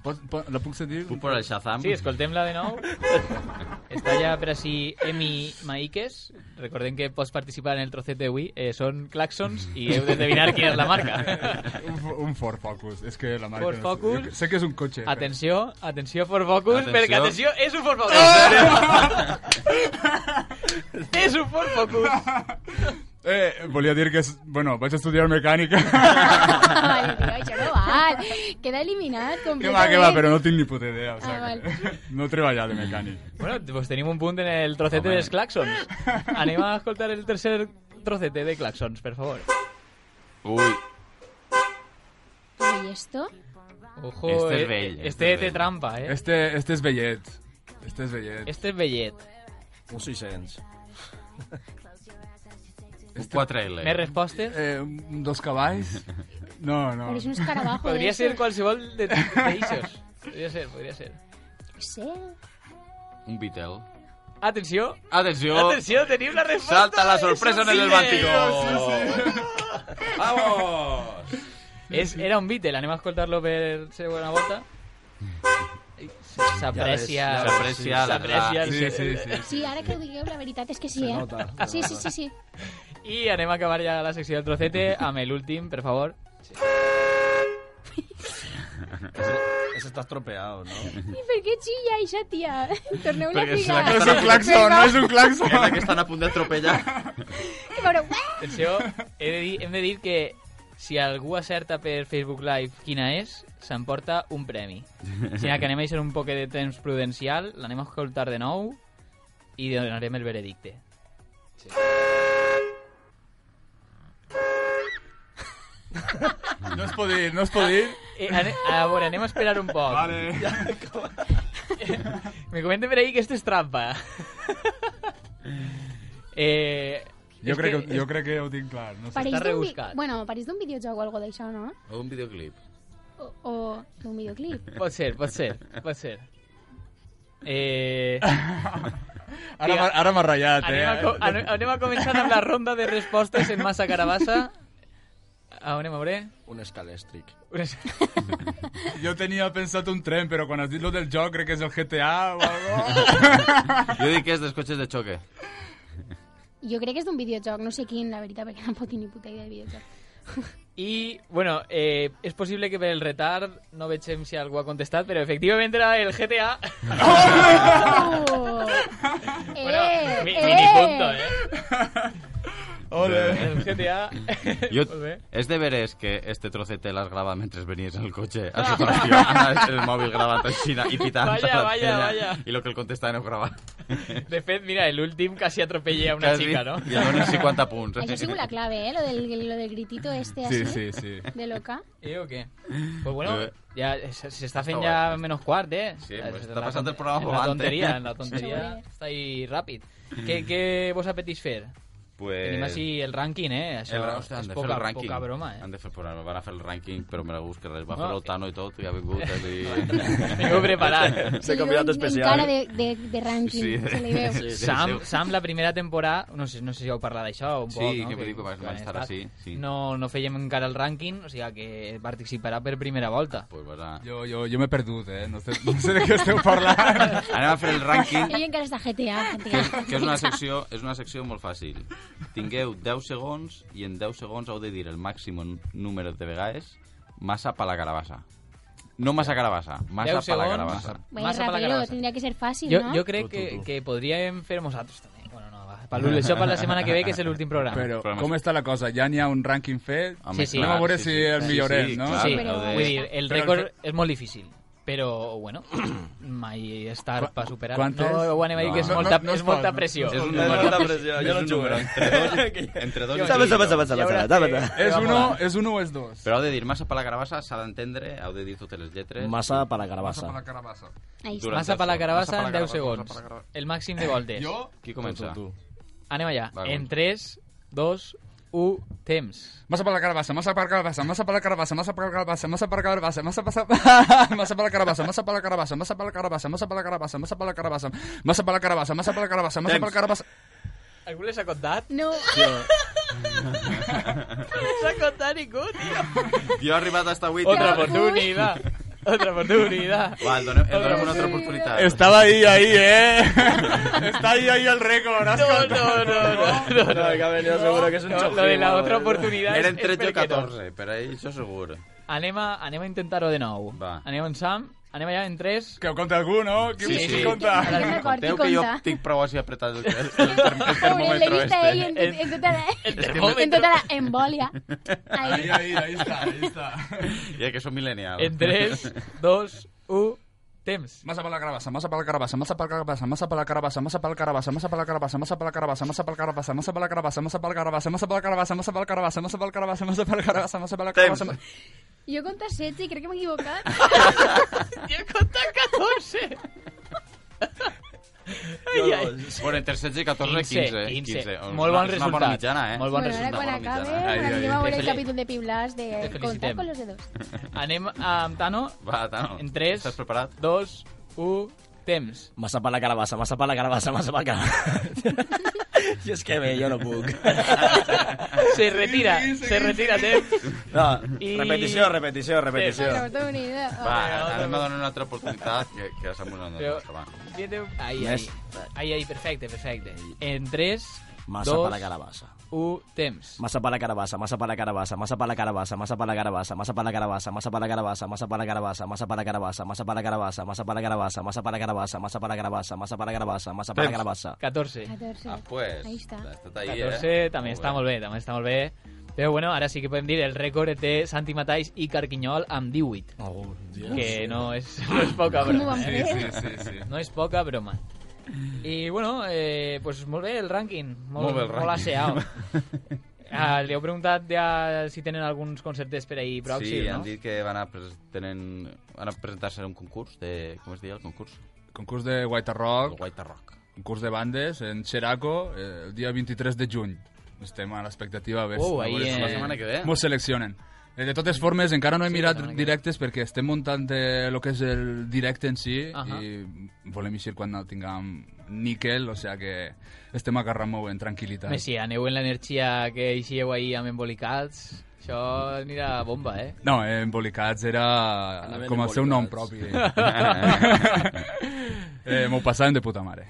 Pot, pot, la puc sentir?
Puc posar el Shazam?
Sí, escoltem-la de nou. Està ja per així Emi Maikes. Recordem que pots participar en el trocet d'avui. Eh, són claxons i heu d'endevinar quina és la marca.
un, fo- un Ford Focus. Es que la marca...
Ford
no sé.
Focus.
Yo Sé que es un coche. pero-
Atenció, atenció Ford Focus,
Atenció.
perquè atenció, és un Ford Focus. *laughs* és un Ford Focus.
Eh, volia dir que... És, bueno, vaig a estudiar mecànica.
*laughs* Vale, tio, això no val. Queda eliminat
que
completament.
va, que va, però no tinc ni puta idea. O sea,
Ah, val.
*laughs* No he treballat de mecànic.
Bueno, pues tenim un punt en el trocete dels claxons. Anem a escoltar el tercer trocete de claxons, per favor.
Ui,
¿Y esto?
Ojo,
Este és
eh,
vell,
Este,
este és
té
vell.
trampa, eh?
Este, este es bellet. Este es bellet.
Este és vellet.
Un 600.
Un 4L.
Més respostes?
Eh, un- dos caballs? No, no.
Eres un
*laughs*
escarabajo ¿eh?
Podria
d'esos.
ser qualsevol de d'aixos. Podria ser, podria ser.
Sí.
un Beetle.
Atenció.
Atenció.
Atenció, tenim la resposta.
Salta la sorpresa en el Báltico.
Vamos. És, era un Beatle, anem a escoltar-lo per segona volta. Ai, s- S'aprecia...
Ja ves, ja ves, S'aprecia sí, la-
s'aprecia el-
sí, sí, sí.
Sí, ara que ho digueu, la veritat és que sí, eh?
nota,
Sí, sí, sí, sí.
I anem a acabar ja la secció del trocete amb l'últim, per favor.
Ese está estropeado,
*laughs*
¿no?
I per què xilla eixa tia? *laughs* Torneu-la a
Perquè és
ficar.
la que No és un estan a
*laughs*
punt- claxon, no és un claxon.
És la que estan a punt d'atropellar.
Que veureu,
Atenció, he de dir, hem de dir que si algú acerta per Facebook Live quina és, s'emporta un premi. Sinó que anem a deixar un poc de temps prudencial, l'anem a escoltar de nou i donarem el veredicte.
*laughs* No es pot dir, no es pot dir.
Eh, ane, a veure, anem a esperar un poc.
Vale.
Me comenten per ahí que esto es trampa. eh,
Jo
és
crec que, jo
és-
crec que ho tinc clar. No sé.
pareix d'un vi... Bueno, pareix d'un videojoc o algo d'això, no?
O un videoclip.
O, o d'un videoclip.
Pot ser, pot ser, pot ser. Eh...
Ara m'ha- ara m'ha ratllat,
anem
eh?
A, co- anem- anem a començar amb la ronda de respostes en massa carabassa. A on anem a veure?
Un escalestric.
Jo tenia pensat un tren, però quan has dit lo del joc crec que és el GTA o
*laughs*
Jo dic que és dels cotxes de xoque.
Jo crec que és d'un videojoc, no sé quin, la veritat, perquè no pot tenir ni puta idea de videojoc.
I, bueno, eh, és possible que per el retard no vegem si algú ha contestat, però efectivament era el GTA.
*laughs* Oh!
bueno,
Eh,
mi,
eh.
minipunto, eh?
Ole.
El GTA... *laughs*
Jo,
Molt bé.
és de veres que este trocete l'has gravat mentre venies en el
*laughs*
cotxe a sota la fiona, el mòbil gravat en Xina i pitant
Vaya,
a la
vaya,
pena,
vaya.
i lo que el contestaven ho gravat.
eh, De fet, mira, l'últim quasi atropellé a una
Quasi,
xica, no?
I el donen 50 punts.
Això ha sigut la clave, eh? Lo del, lo del gritito este
Sí,
así.
sí, sí.
De loca.
Eh, o què? Pues bueno,
Eh.
ja se- se está haciendo
Està
ya menos cuart, eh?
Sí,
Es
pues
la
está pasando el
ton-
programa
es
volante.
la tontería, en la
Sí,
tontería.
sí.
Está ahí rápido.
Mm.
¿Qué, qué vos apetís fer?
Pues...
Tenim així el ranking, eh? Això
El, hòstia, han
és
de fer
poca,
el rànquing.
poca broma, eh?
Han de fer, però van a fer el rànquing, però me la busca res. Va
No, eh.
fer l'Otano i
*laughs*
tot, i ha vingut. Eh? I...
Vingut
*laughs*
preparat.
Se li veu en cara de, de, de rànquing.
Sí.
Se li veu.
Sí, sí,
Sam,
sí.
Sam, la primera temporada, no sé, no sé si heu parlat d'això un
Sí,
poc, no?
que diu que vas- vas estar així, sí.
No, no fèiem encara el rànquing, o sigui que participarà per primera volta.
Pues vas a...
Jo, jo, jo m'he perdut, eh? No sé, no sé de què esteu parlant.
Anem a fer el
*laughs*
rànquing,
Ell encara està GTA.
*laughs* que,
GTA.
que és, una secció, és una secció molt fàcil. Tingueu 10 segons i en 10 segons heu de dir el màxim número de vegades massa per la carabassa. No massa carabassa, massa
Deu
per la
segons.
carabassa.
Bueno,
Massa para la
rápido,
calabaza.
tendría que ser fácil,
Yo,
¿no?
yo creo que, que podríem fer nosaltres també. Bueno, no, va. Para l'Ullet Shop la setmana que ve, que és l'últim programa.
Però com està la cosa? Ja n'hi ha un rànquing fet?
Home, Sí, sí.
Anem a veure
clar,
si
sí, sí.
el
Sí,
millorem,
sí,
no?
clar, Sí, però- vull dir, el
Però
rècord és molt difícil. Però,
*coughs*
bueno, mai estar per superar.
quantes?
No, ho anem a dir que és
No, no,
molta,
no es
és molta
pot,
pressió.
no es pot.
És molta pressió, jo no
*laughs*
jugo. Entre dos- entre dos- Avança, avança, avança, avança, avança.
eh,
És uno, és uno o és dos?
Però heu de dir massa per la carabassa, s'ha d'entendre, heu de dir totes les lletres.
Massa per la carabassa.
Eh? Massa per la carabassa.
Ahí está.
Durant
Massa per la
el-
carabassa
massa
en
per la
10
carabassa,
segons.
massa per la carabassa.
El màxim de voltes.
Jo?
Qui comença? Tu,
Anem allà.
Va,
En 3, 2, 1, temps.
Massa per la carabassa, massa per la carabassa, massa per la carabassa, massa per la carabassa, massa per la carabassa, massa per la massa per la carabassa, massa per la carabassa, massa per la carabassa, massa per la carabassa, massa per la carabassa, massa per la carabassa, massa per la carabassa, massa per la carabassa.
Algú les ha contat?
No.
*laughs* les ha contat ningú, tio.
Jo he arribat hasta 8.
Otra oportunidad. Otra oportunidad.
Va, el donem, el donem una
*laughs*
altra oportunitat.
Estaba ahí, ahí, eh. *laughs* Está ahí, ahí el récord. No,
no, no, no, no,
que ha venido seguro que es un
No,
chojín,
Lo de la
vamos.
otra oportunidad
Eren
es-
13
es
o
perquè no.
14, per ahí, això segur.
Anem a, anem a intentar-ho de nou. Va. Anem amb Sam, anem allà en 3...
Que ho conta algú, no? Qui-
Sí, sí. Compteu que jo tinc prou així apretat el, el, el, term, el
Pobre, le
termómetro
viste ahí
*laughs* este.
en, en- en toda la,
termómetro.
en toda la embolia. Ahí.
está, ahí está.
Ja que som millennials.
En
*laughs*
tres,
2, 1, temps.
Massa per la carabassa, massa per la carabassa, massa per la carabassa, massa per la carabassa, massa per la carabassa, massa per la carabassa, massa per la carabassa, massa per la carabassa, massa per la carabassa, massa per la carabassa, massa per la carabassa, massa per la carabassa, massa per la carabassa, massa per la carabassa, massa per la carabassa.
Yo conté 7 y creo que me he
*laughs*
equivocado.
Yo conté *laughs* 14.
Ai, ai. Bueno, entre 16 i 14, 15. 15. 15.
Molt bon
És una bona
resultat.
mitjana, eh?
Molt bon
Bueno, ahora
resultat.
cuando acabe,
Ahí,
ahora
ahí.
yo voy a ver el
Te fel-
capítulo de Piblas de contar
Te felicitem.
con los dedos.
Anem amb Tano.
Va, Tano.
En 3,
Estàs preparat?
2, 1, temps.
Massa per la carabassa, massa per la carabassa, massa per la carabassa. *laughs* jo és que bé, jo no
*laughs*
puc.
Se retira, se retira temps.
No,
I-
repetició, repetició, repetició.
Otra oportunidad.
Va,
Otra, otra.
anem a donar una altra oportunitat que, que s'ha mudado
Però-
nostra, va.
Viete- Ahí, ahí.
Més.
Ahí, ahí, perfecte, perfecte. En 3,
Massa per la
2,
carabassa.
1, temps.
Massa per la carabassa, massa per la carabassa, massa per la carabassa, massa per la carabassa, massa per la carabassa, massa per la carabassa, massa per la carabassa, massa per la carabassa, massa per la carabassa, massa per la carabassa, massa per la carabassa, massa per la carabassa, massa per la carabassa, massa per la
Temps.
carabassa.
14.
14.
Ah, pues,
Ahí está.
Tot ahí, eh?
14 també està molt bé, també està molt bé. Però bueno, ara sí que podem dir el rècord és de Santi Mataix i Carquinyol amb 18.
Oh,
que no és, *laughs* no és poca
Com ho
broma.
van
eh?
fer?
Sí, sí, sí, sí.
No és poca broma. I bueno, eh, pues molt bé el rànquing. Molt,
Molt bé el
Molt
rànquing.
asseado. Ah, li heu preguntat ja si tenen alguns conceptes per ahir pròxims,
sí,
no?
han dit que van a, pres- tenen, van a presentar-se en un concurs de... Com es deia el concurs?
Concurs de White Rock,
White Rock.
concurs de bandes en Xeraco, eh, el dia 23 de juny. Estem a l'expectativa a veure
Oh,
a
ahí,
veure
eh.
La setmana que ve.
Mos seleccionen. Eh, De totes formes, encara no he
Sí,
mirat
la setmana que
directes perquè estem muntant eh, lo que és el directe en si
Ahà.
i volem eixir quan no tinguem níquel, o sea que estem agarrant-ho en tranquil·litat.
Home, si aneu en l'energia que eixíeu ahir amb embolicats, això anirà bomba, eh?
No, eh, embolicats era
Anaven
com el seu nom propi. eh, M'ho passàvem de puta mare.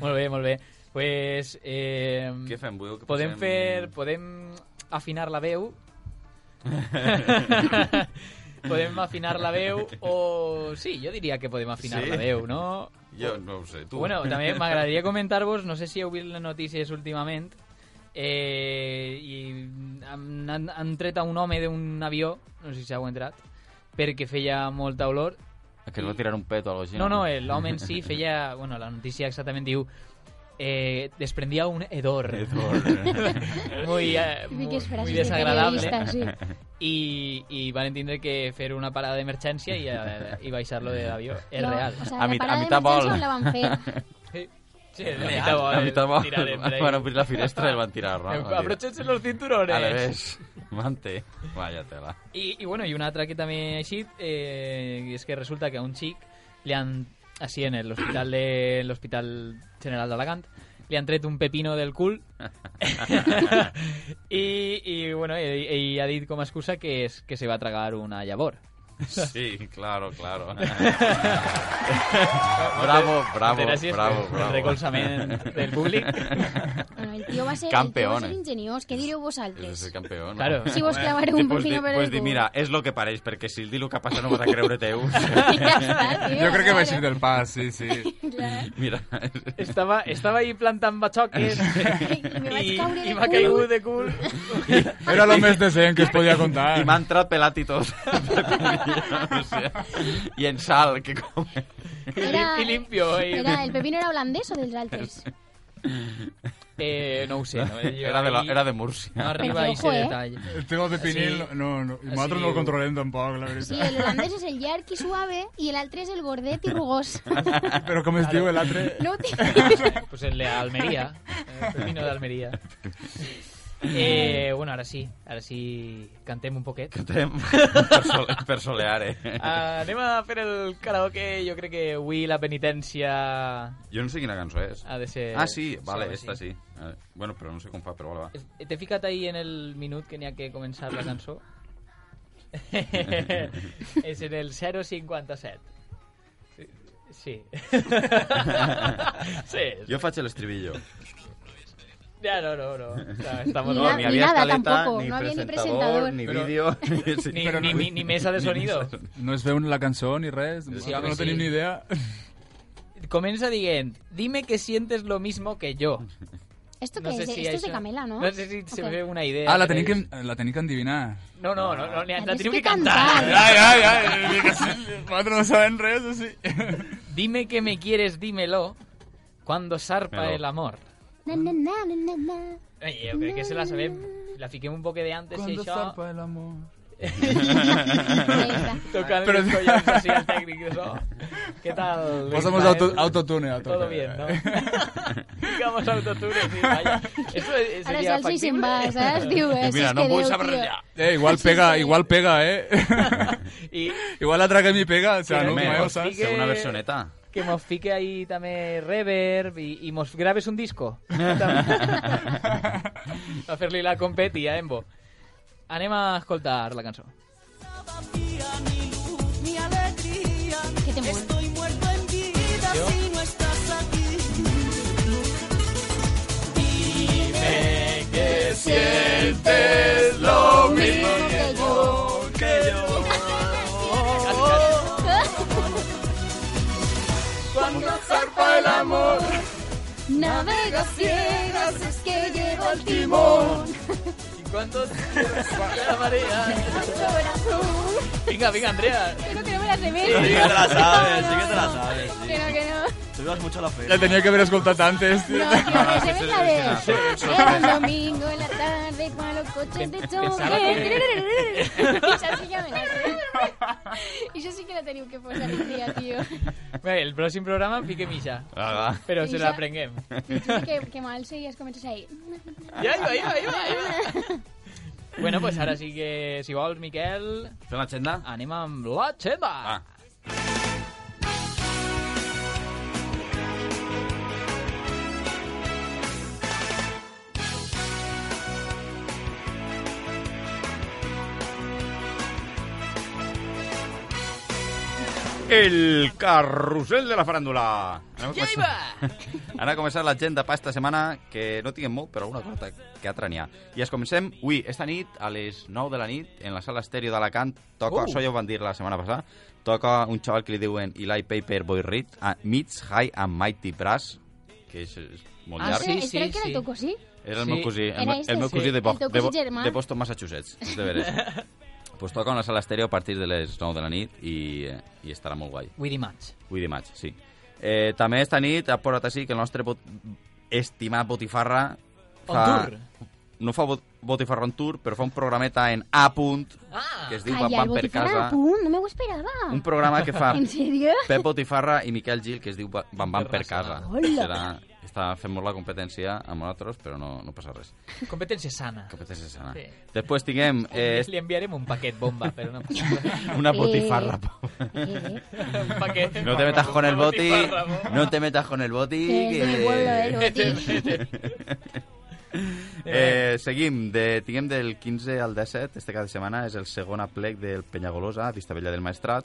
molt bé, molt bé. Pues, eh,
Què fem? Voleu que
podem
posem-
fer... Podem afinar la
*laughs*
veu. podem afinar la veu o... Sí, jo diria que podem afinar
Sí?
la veu, no?
Jo no ho sé, tu.
Bueno,
*laughs*
també m'agradaria comentar-vos, no sé si heu vist les notícies últimament, eh, i han, han, han tret a un home d'un avió, no sé si heu entrat, perquè feia molta olor
Que no va tirar un pet o algo així.
no, no, el home en
*laughs*
si feia... Bueno, la notícia exactament diu... Eh, desprendia un hedor.
Hedor.
*laughs* muy, eh, muy,
Típiques frases
muy
de
desagradable.
periodista, sí.
I, I van entendre que fer una parada d'emergència i, eh, i baixar-lo de l'avió és
No,
real.
o sea,
A
la
mit- a
parada de
mitad
emergencia
vol.
no la van fer.
Sí, sí, de
Real.
mitad vol,
A mitad vol. *laughs*
tirar el break.
Van obrir pues la finestra i el van tirar, no? Van dir,
Abróchense los cinturones.
A la vez. Mante. Vaya tela.
I, i bueno, i un altre que també ha eixit eh, és que resulta que a un xic li han, així en l'hospital de l'Hospital General d'Alacant li han tret un pepino del
*laughs*
cul i, i bueno, i, i ha dit com a excusa que, és, que se va tragar una llavor
Sí, claro,
*laughs*
claro. bravo, bravo,
Gràcies
bravo,
pel
bravo.
recolzament del
*laughs*
públic.
Bueno, el tío va a ser, el tío va
Campeón,
a ser
eh?
ingeniós. ¿Qué diré vosaltres?
És el campeó, no?
Claro.
Si vos clavareu un
pues,
pepino
di,
per
pues
el
di,
cul.
mira, és lo que pareix, perquè si el di el que passa no vas a creure
*laughs*
teu.
tio,
*laughs* Yo creo que va a
claro.
ser del paz, sí, sí.
Mira,
Estava, estava ahí plantant batxoques
me
i,
vaig caure de
i m'ha
cul.
caigut de cul.
Era lo més decent que es podia contar.
I m'ha entrat pelat i
*laughs*
tot. o sigui, I en sal, que com...
Era,
I limpio. I...
era- ¿El pepino era holandés o del Raltes?
Eh, no ho sé. No, Jo
Era de la-
ahí
era de Múrcia.
No arriba
Perquè,
a
ojo,
ese
eh?
detall.
El tema de Pinil,
Así-
no, no, i
así
nosaltres no
diu.
el controlem tampoc, la veritat. *laughs*
Sí, el holandés es el yarki suave y el altre es el gordet y rugós.
Però com es diu l'altre?
No te...
Pues el de Almería. El pepino de Almería. *laughs* Eh, bueno, ahora sí. Ahora sí cantem un poquet.
Cantem. *laughs* Per, sole, per solear, eh?
Ah, anem a fer el karaoke. Jo crec que avui la penitència
Jo no sé quina cançó és.
ha de ser...
Ah, sí, vale,
algo
esta
així.
sí. Eh, Bueno, però no sé com fa, però vale, va.
T'he ficat ahí en el minut que n'hi ha que començar la cançó. és en el 057. Sí. sí.
Jo faig l'estribillo.
Ja, no, no, no. Està, està
Ni
molt
na-
bé.
ni nada tampoco, no había ni presentador.
ni
Però-
vídeo... Ni,
Ni, ni, ni, ni mesa de sonido.
*laughs* No es veu la cançó ni res, nosaltres
home,
no tenim
sí. Eh,
ni idea.
Comienza dient, dime que sientes lo mismo que yo.
Esto que
No sé
es, de-
si
esto es de
això-
Camela, ¿no?
No sé si se
Ok.
ve una idea.
Ah, la
pero
tenim que,
es-
la tenim que endivinar.
No, no, no, no,
La
la, la
tens
tenim
que
que cantar.
cantar.
Ai, ai, ai, dic que sí, nosaltres no sabem res, o
*laughs*
sí.
Dime que me quieres, dímelo, cuando zarpa
Dímelo.
el amor.
Na, na, na, na, na, na.
Oye, yo creo que se la sabem. La fiquem un poco de antes i
Cuando
això... *laughs*
zarpa el amor.
Tocant
Però-
els collons així al tècnic, això. Què tal?
Posamos
Ismael?
auto- autotune a tope.
eh. Todo bien, ¿no? *laughs* Digamos autotune, sí,
*laughs*
vaya. Esto es-
Ahora
sería
salsa y sin
factible.
más, ¿sabes? Digo, eso
Mira,
es
no
que
vull
Déu,
saber
tío.
res ja.
*laughs* Eh, igual pega, igual pega,
*laughs*
eh?
I
Igual la traga mi pega, o sea, no, eh,
Home,
no,
hòstia,
saps?
Fer una versioneta.
que mos fique ahí también reverb y, y mos grabes un disco. a fer-li la competi a ¿eh, Embo. Anem a escoltar la cançó.
Mi alegría,
Que te muero.
estoy muerto en vida
Yo.
si no estás aquí.
que
sientes lo mismo
que yo.
que yo. Cuando zarpa el amor,
Navega ciegas, es que llevo el timón.
¿Y cuánto la marea?
Corazón.
Venga, venga, Andrea.
Creo que no me la sé
Sí que te
ver.
la sabes, sí que te la sabes. Sí.
Creo que no.
Te ibas mucho a la fe.
La tenía que haber escoltat antes, tío.
No, tío, que se ve la de...
Sí, sí, sí.
Era un domingo en la tarde con los coches de
Pensaba que-
choque. Y yo sí que me la sé. Y yo sí que la tenía que posar un día, tío.
Bé, el pròxim programa fique missa.
Va, va.
Però se la
Missa?
prenguem.
Que, que mal seguías comences ahí.
Ja, ja, ja, ja, ja. Bueno, pues ara sí que, si vols, Miquel,
Fem l'agenda?
anem amb la xenda.
Ah. El carrusel de la farándula. Anem a
Ja hi
començar- *laughs*
va!
Ara ha començat l'agenda pa esta setmana, que no tinguem molt, però alguna cosa que altra n'hi ha. I es comencem avui, esta nit, a les 9 de la nit, en la sala estèreo d'Alacant, toca,
Uh.
Oh!
uh. això ja ho van dir la setmana passada, toca un xaval que li diuen Eli Paper Boy Reed, a Meets High and Mighty Brass, que és, és molt
Ah,
llarg.
sí, sí,
Espera que
sí.
era tu cosí.
Era el
Sí.
meu cosí,
Era
el, me-
este?
el meu cosí
Sí.
de, Bo
El teu
de, Bo
cosí germà.
de Boston, Massachusetts, és de
*laughs*
veres. pues toca una sala estèreo a partir de les 9 de la nit i, eh, i estarà molt guai.
Avui dimarts.
8 de maig, sí. Eh, també esta nit ha portat així que el nostre bot... estimat Botifarra
On tour?
No fa bot... Botifarra on tour, però fa un programeta en A punt,
Ah!
que es diu Van
Ay, al
Van per
botifarra,
casa.
pum, no me lo esperaba.
Un programa que fa
*laughs* ¿En serio?
Pep Botifarra i Miquel Gil, que es diu Ba- Van Van per casa.
Hola.
Serà... Està fent molt la competència amb nosaltres, però no, no passa res.
Competència sana.
Competència sana.
Sí.
Després
*laughs*
tinguem eh,
Eh... Li enviarem un paquet bomba, però no passa
*laughs*
res.
una botifarra.
*laughs*
Eh,
un paquet.
No te metas con el
Una
boti,
botifarra, bo.
no te metas con el boti. *laughs*
Que es de mi pueblo, eh, el boti.
Eh, seguim, de, tinguem del 15 al 17, este cap de setmana és el segon aplec del Penyagolosa, a Vistabella del Maestrat,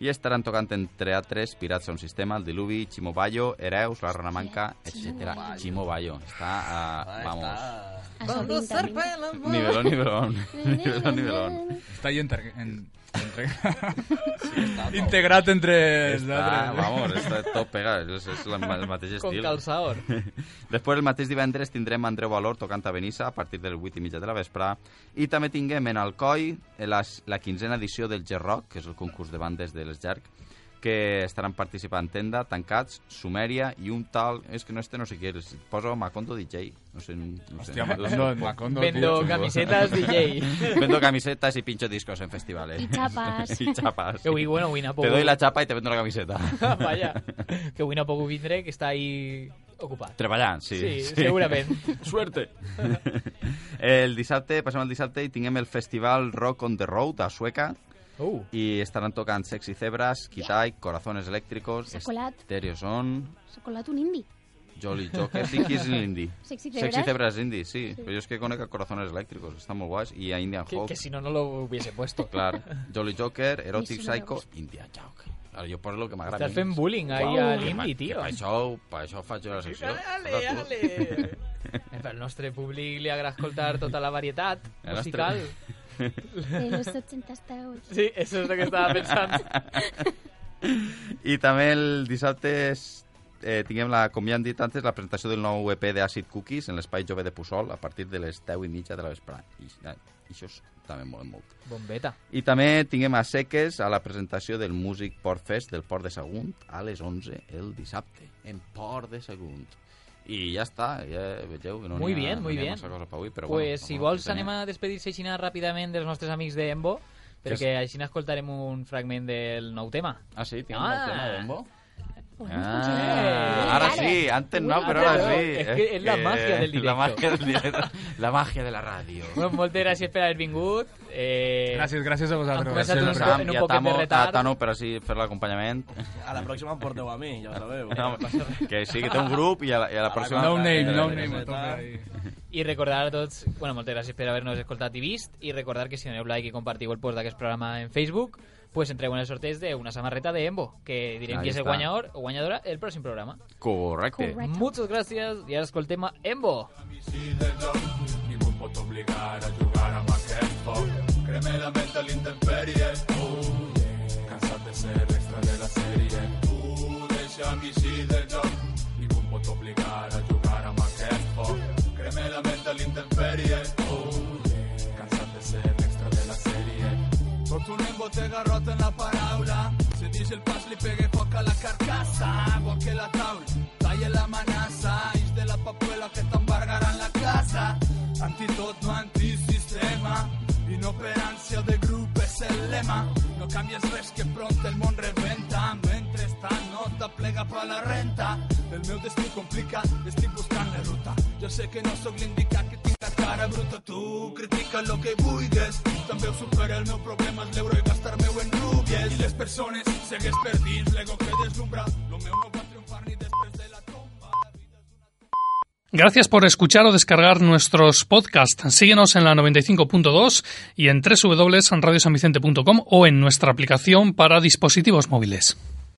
i estaran tocant entre altres Pirats a un sistema, el Diluvi, Chimo Bayo, Hereus, la Rana Manca, etc. Chimo Bayo. Està, uh, vamos, nivelón, *laughs* nivelón, nivelón, nivelón.
Está ahí entre... en- *laughs* entre- integrat entre... els
Està,
altres.
vamos, està tot pega, és, és la- el mateix
Con
estil. *laughs*
calçador.
Després, el mateix divendres, tindrem Andreu Valor tocant a Benissa a partir de les 8 i mitja de la vespre. I també tinguem en Alcoi la, la quinzena edició del G-Rock, que és el concurs de bandes de les Jerc, que estaran participant Tenda, Tancats, Sumèria i un tal... És que no este no sé qui és, poso Macondo DJ. No sé, no sé.
Hòstia, Macondo- Macondo,
Vendo
tio,
*laughs*
camisetas, DJ.
Vendo camisetas y pincho discos en festivales.
Y chapas.
*laughs* y chapas.
Que ui, bueno, ui, Napo.
Te
*laughs*
doy la chapa y te vendo la camiseta. *laughs*
Vaya, que avui no ha pogut vindre, que està ahí ocupat.
Treballant, sí.
Sí, segurament.
*laughs* Suerte. el dissabte, passem al dissabte i tinguem el festival Rock on the Road a Sueca.
Uh.
I estaran tocant Sexy Zebras, Kitai, Corazones Eléctricos,
S'ha colat.
Stereo Son,
S'ha colat un indi.
Jolly Joker, sí, qui és l'indi?
*laughs* Sexy
Sexy
Zebras?
Zebras Indie, sí. Però jo és que conec a Corazones Elèctricos, estan molt guais, i a Indian
Que,
Hope.
que si no, no lo hubiese puesto.
Clar, Jolly
*laughs*
Joker, Erotic
Eso no me
Psycho,
gusta.
India Joker. Ara jo poso el que m'agrada.
Estàs fent bullying ahí
Uau,
a
que
l'indi,
pa-
tio. eh?
que Per això, per això faig jo la secció.
Ale, ale. *laughs* Eh, Pel nostre públic li agrada escoltar tota la varietat
El
musical.
De los 80 hasta hoy.
Sí, eso es lo que estaba pensando.
I també el dissabte és, eh, tinguem, la, com ja hem dit antes, la presentació del nou EP de Acid Cookies en l'espai jove de Puçol a partir de les 10 i mitja de la vesprada. I, eh, i això és, també mola molt.
*laughs* Bombeta.
I també tinguem a Seques a la presentació del Music Port Fest del Port de Sagunt a les 11 el dissabte, en Port de Sagunt. I ja està, ja vegeu que no
Muy
n'hi ha-
bien,
no
muy
n'hi ha
bien.
massa cosa per avui, però
pues
bueno,
si
home,
vols
tenia-
anem a despedir-se així ràpidament dels nostres amics de Embo, perquè així escoltarem un fragment del nou tema.
Ah, sí?
Tinc
un nou tema d'Embo?
Pues
funciona.
Ah, ahora sí, antes no,
Uy,
pero ahora
claro,
sí. ¿eh?
es que es la magia del
La
directo.
magia, del directo, *laughs* la magia de la radio.
Bueno, moltes gràcies per haver vingut. Eh,
Gràcies, gràcies a vosaltres.
Hem començat un,
Sam,
en un
ja
poquet de
tamo,
retard.
Tano, per així fer l'acompanyament.
A la pròxima em porteu a mi, ja ho sabeu.
No, que sí, que té un grup i a la, i
Ah,
a la pròxima...
No name, no name.
a tope ahí.
I recordar a tots, bueno, moltes gràcies per haver-nos escoltat i vist, i recordar que si doneu like i compartiu el post d'aquest programa en Facebook, pues entreu en el sorteig d'una samarreta de Embo, que direm
Ahí
qui és el
está.
guanyador o guanyadora el pròxim programa.
Correcte.
Muchas gracias y ahora escoltem a Embo.
Ningú em pot obligar a jugar amb aquest foc. Cremé la ment a l'intemperie. Oh, yeah. Cansat de ser extra de la sèrie. Tu deixa'm eixir del joc. Ningú em pot obligar a jugar amb aquest foc. Cremé la ment a l'intemperie. Oh, yeah. Cansat de ser extra de la sèrie. Tot un embotega rota en la paraula. Si dix el pas li pegue foc a la carcassa. Agua que la taula. Talla la manassa. Ix de la papuela que t'embargaran la casa. Anti tot no antisistema Inoperància de grup és el lema No canvies res que pront el món reventa Mentrestant no t'aplega pa la renta El meu destí complica, estic buscant la ruta Jo sé que no sóc l'indicat que tinc la cara bruta Tu critica lo que vulgues També ho supera el meu problema és l'euro i gastar-me-ho en rubies I les persones segueix perdint l'ego que deslumbra Lo meu no va triomfar ni després de la tomba
Gracias por escuchar o descargar nuestros podcasts. Síguenos en la 95.2 y en www.radiosanvicente.com o en nuestra aplicación para dispositivos móviles.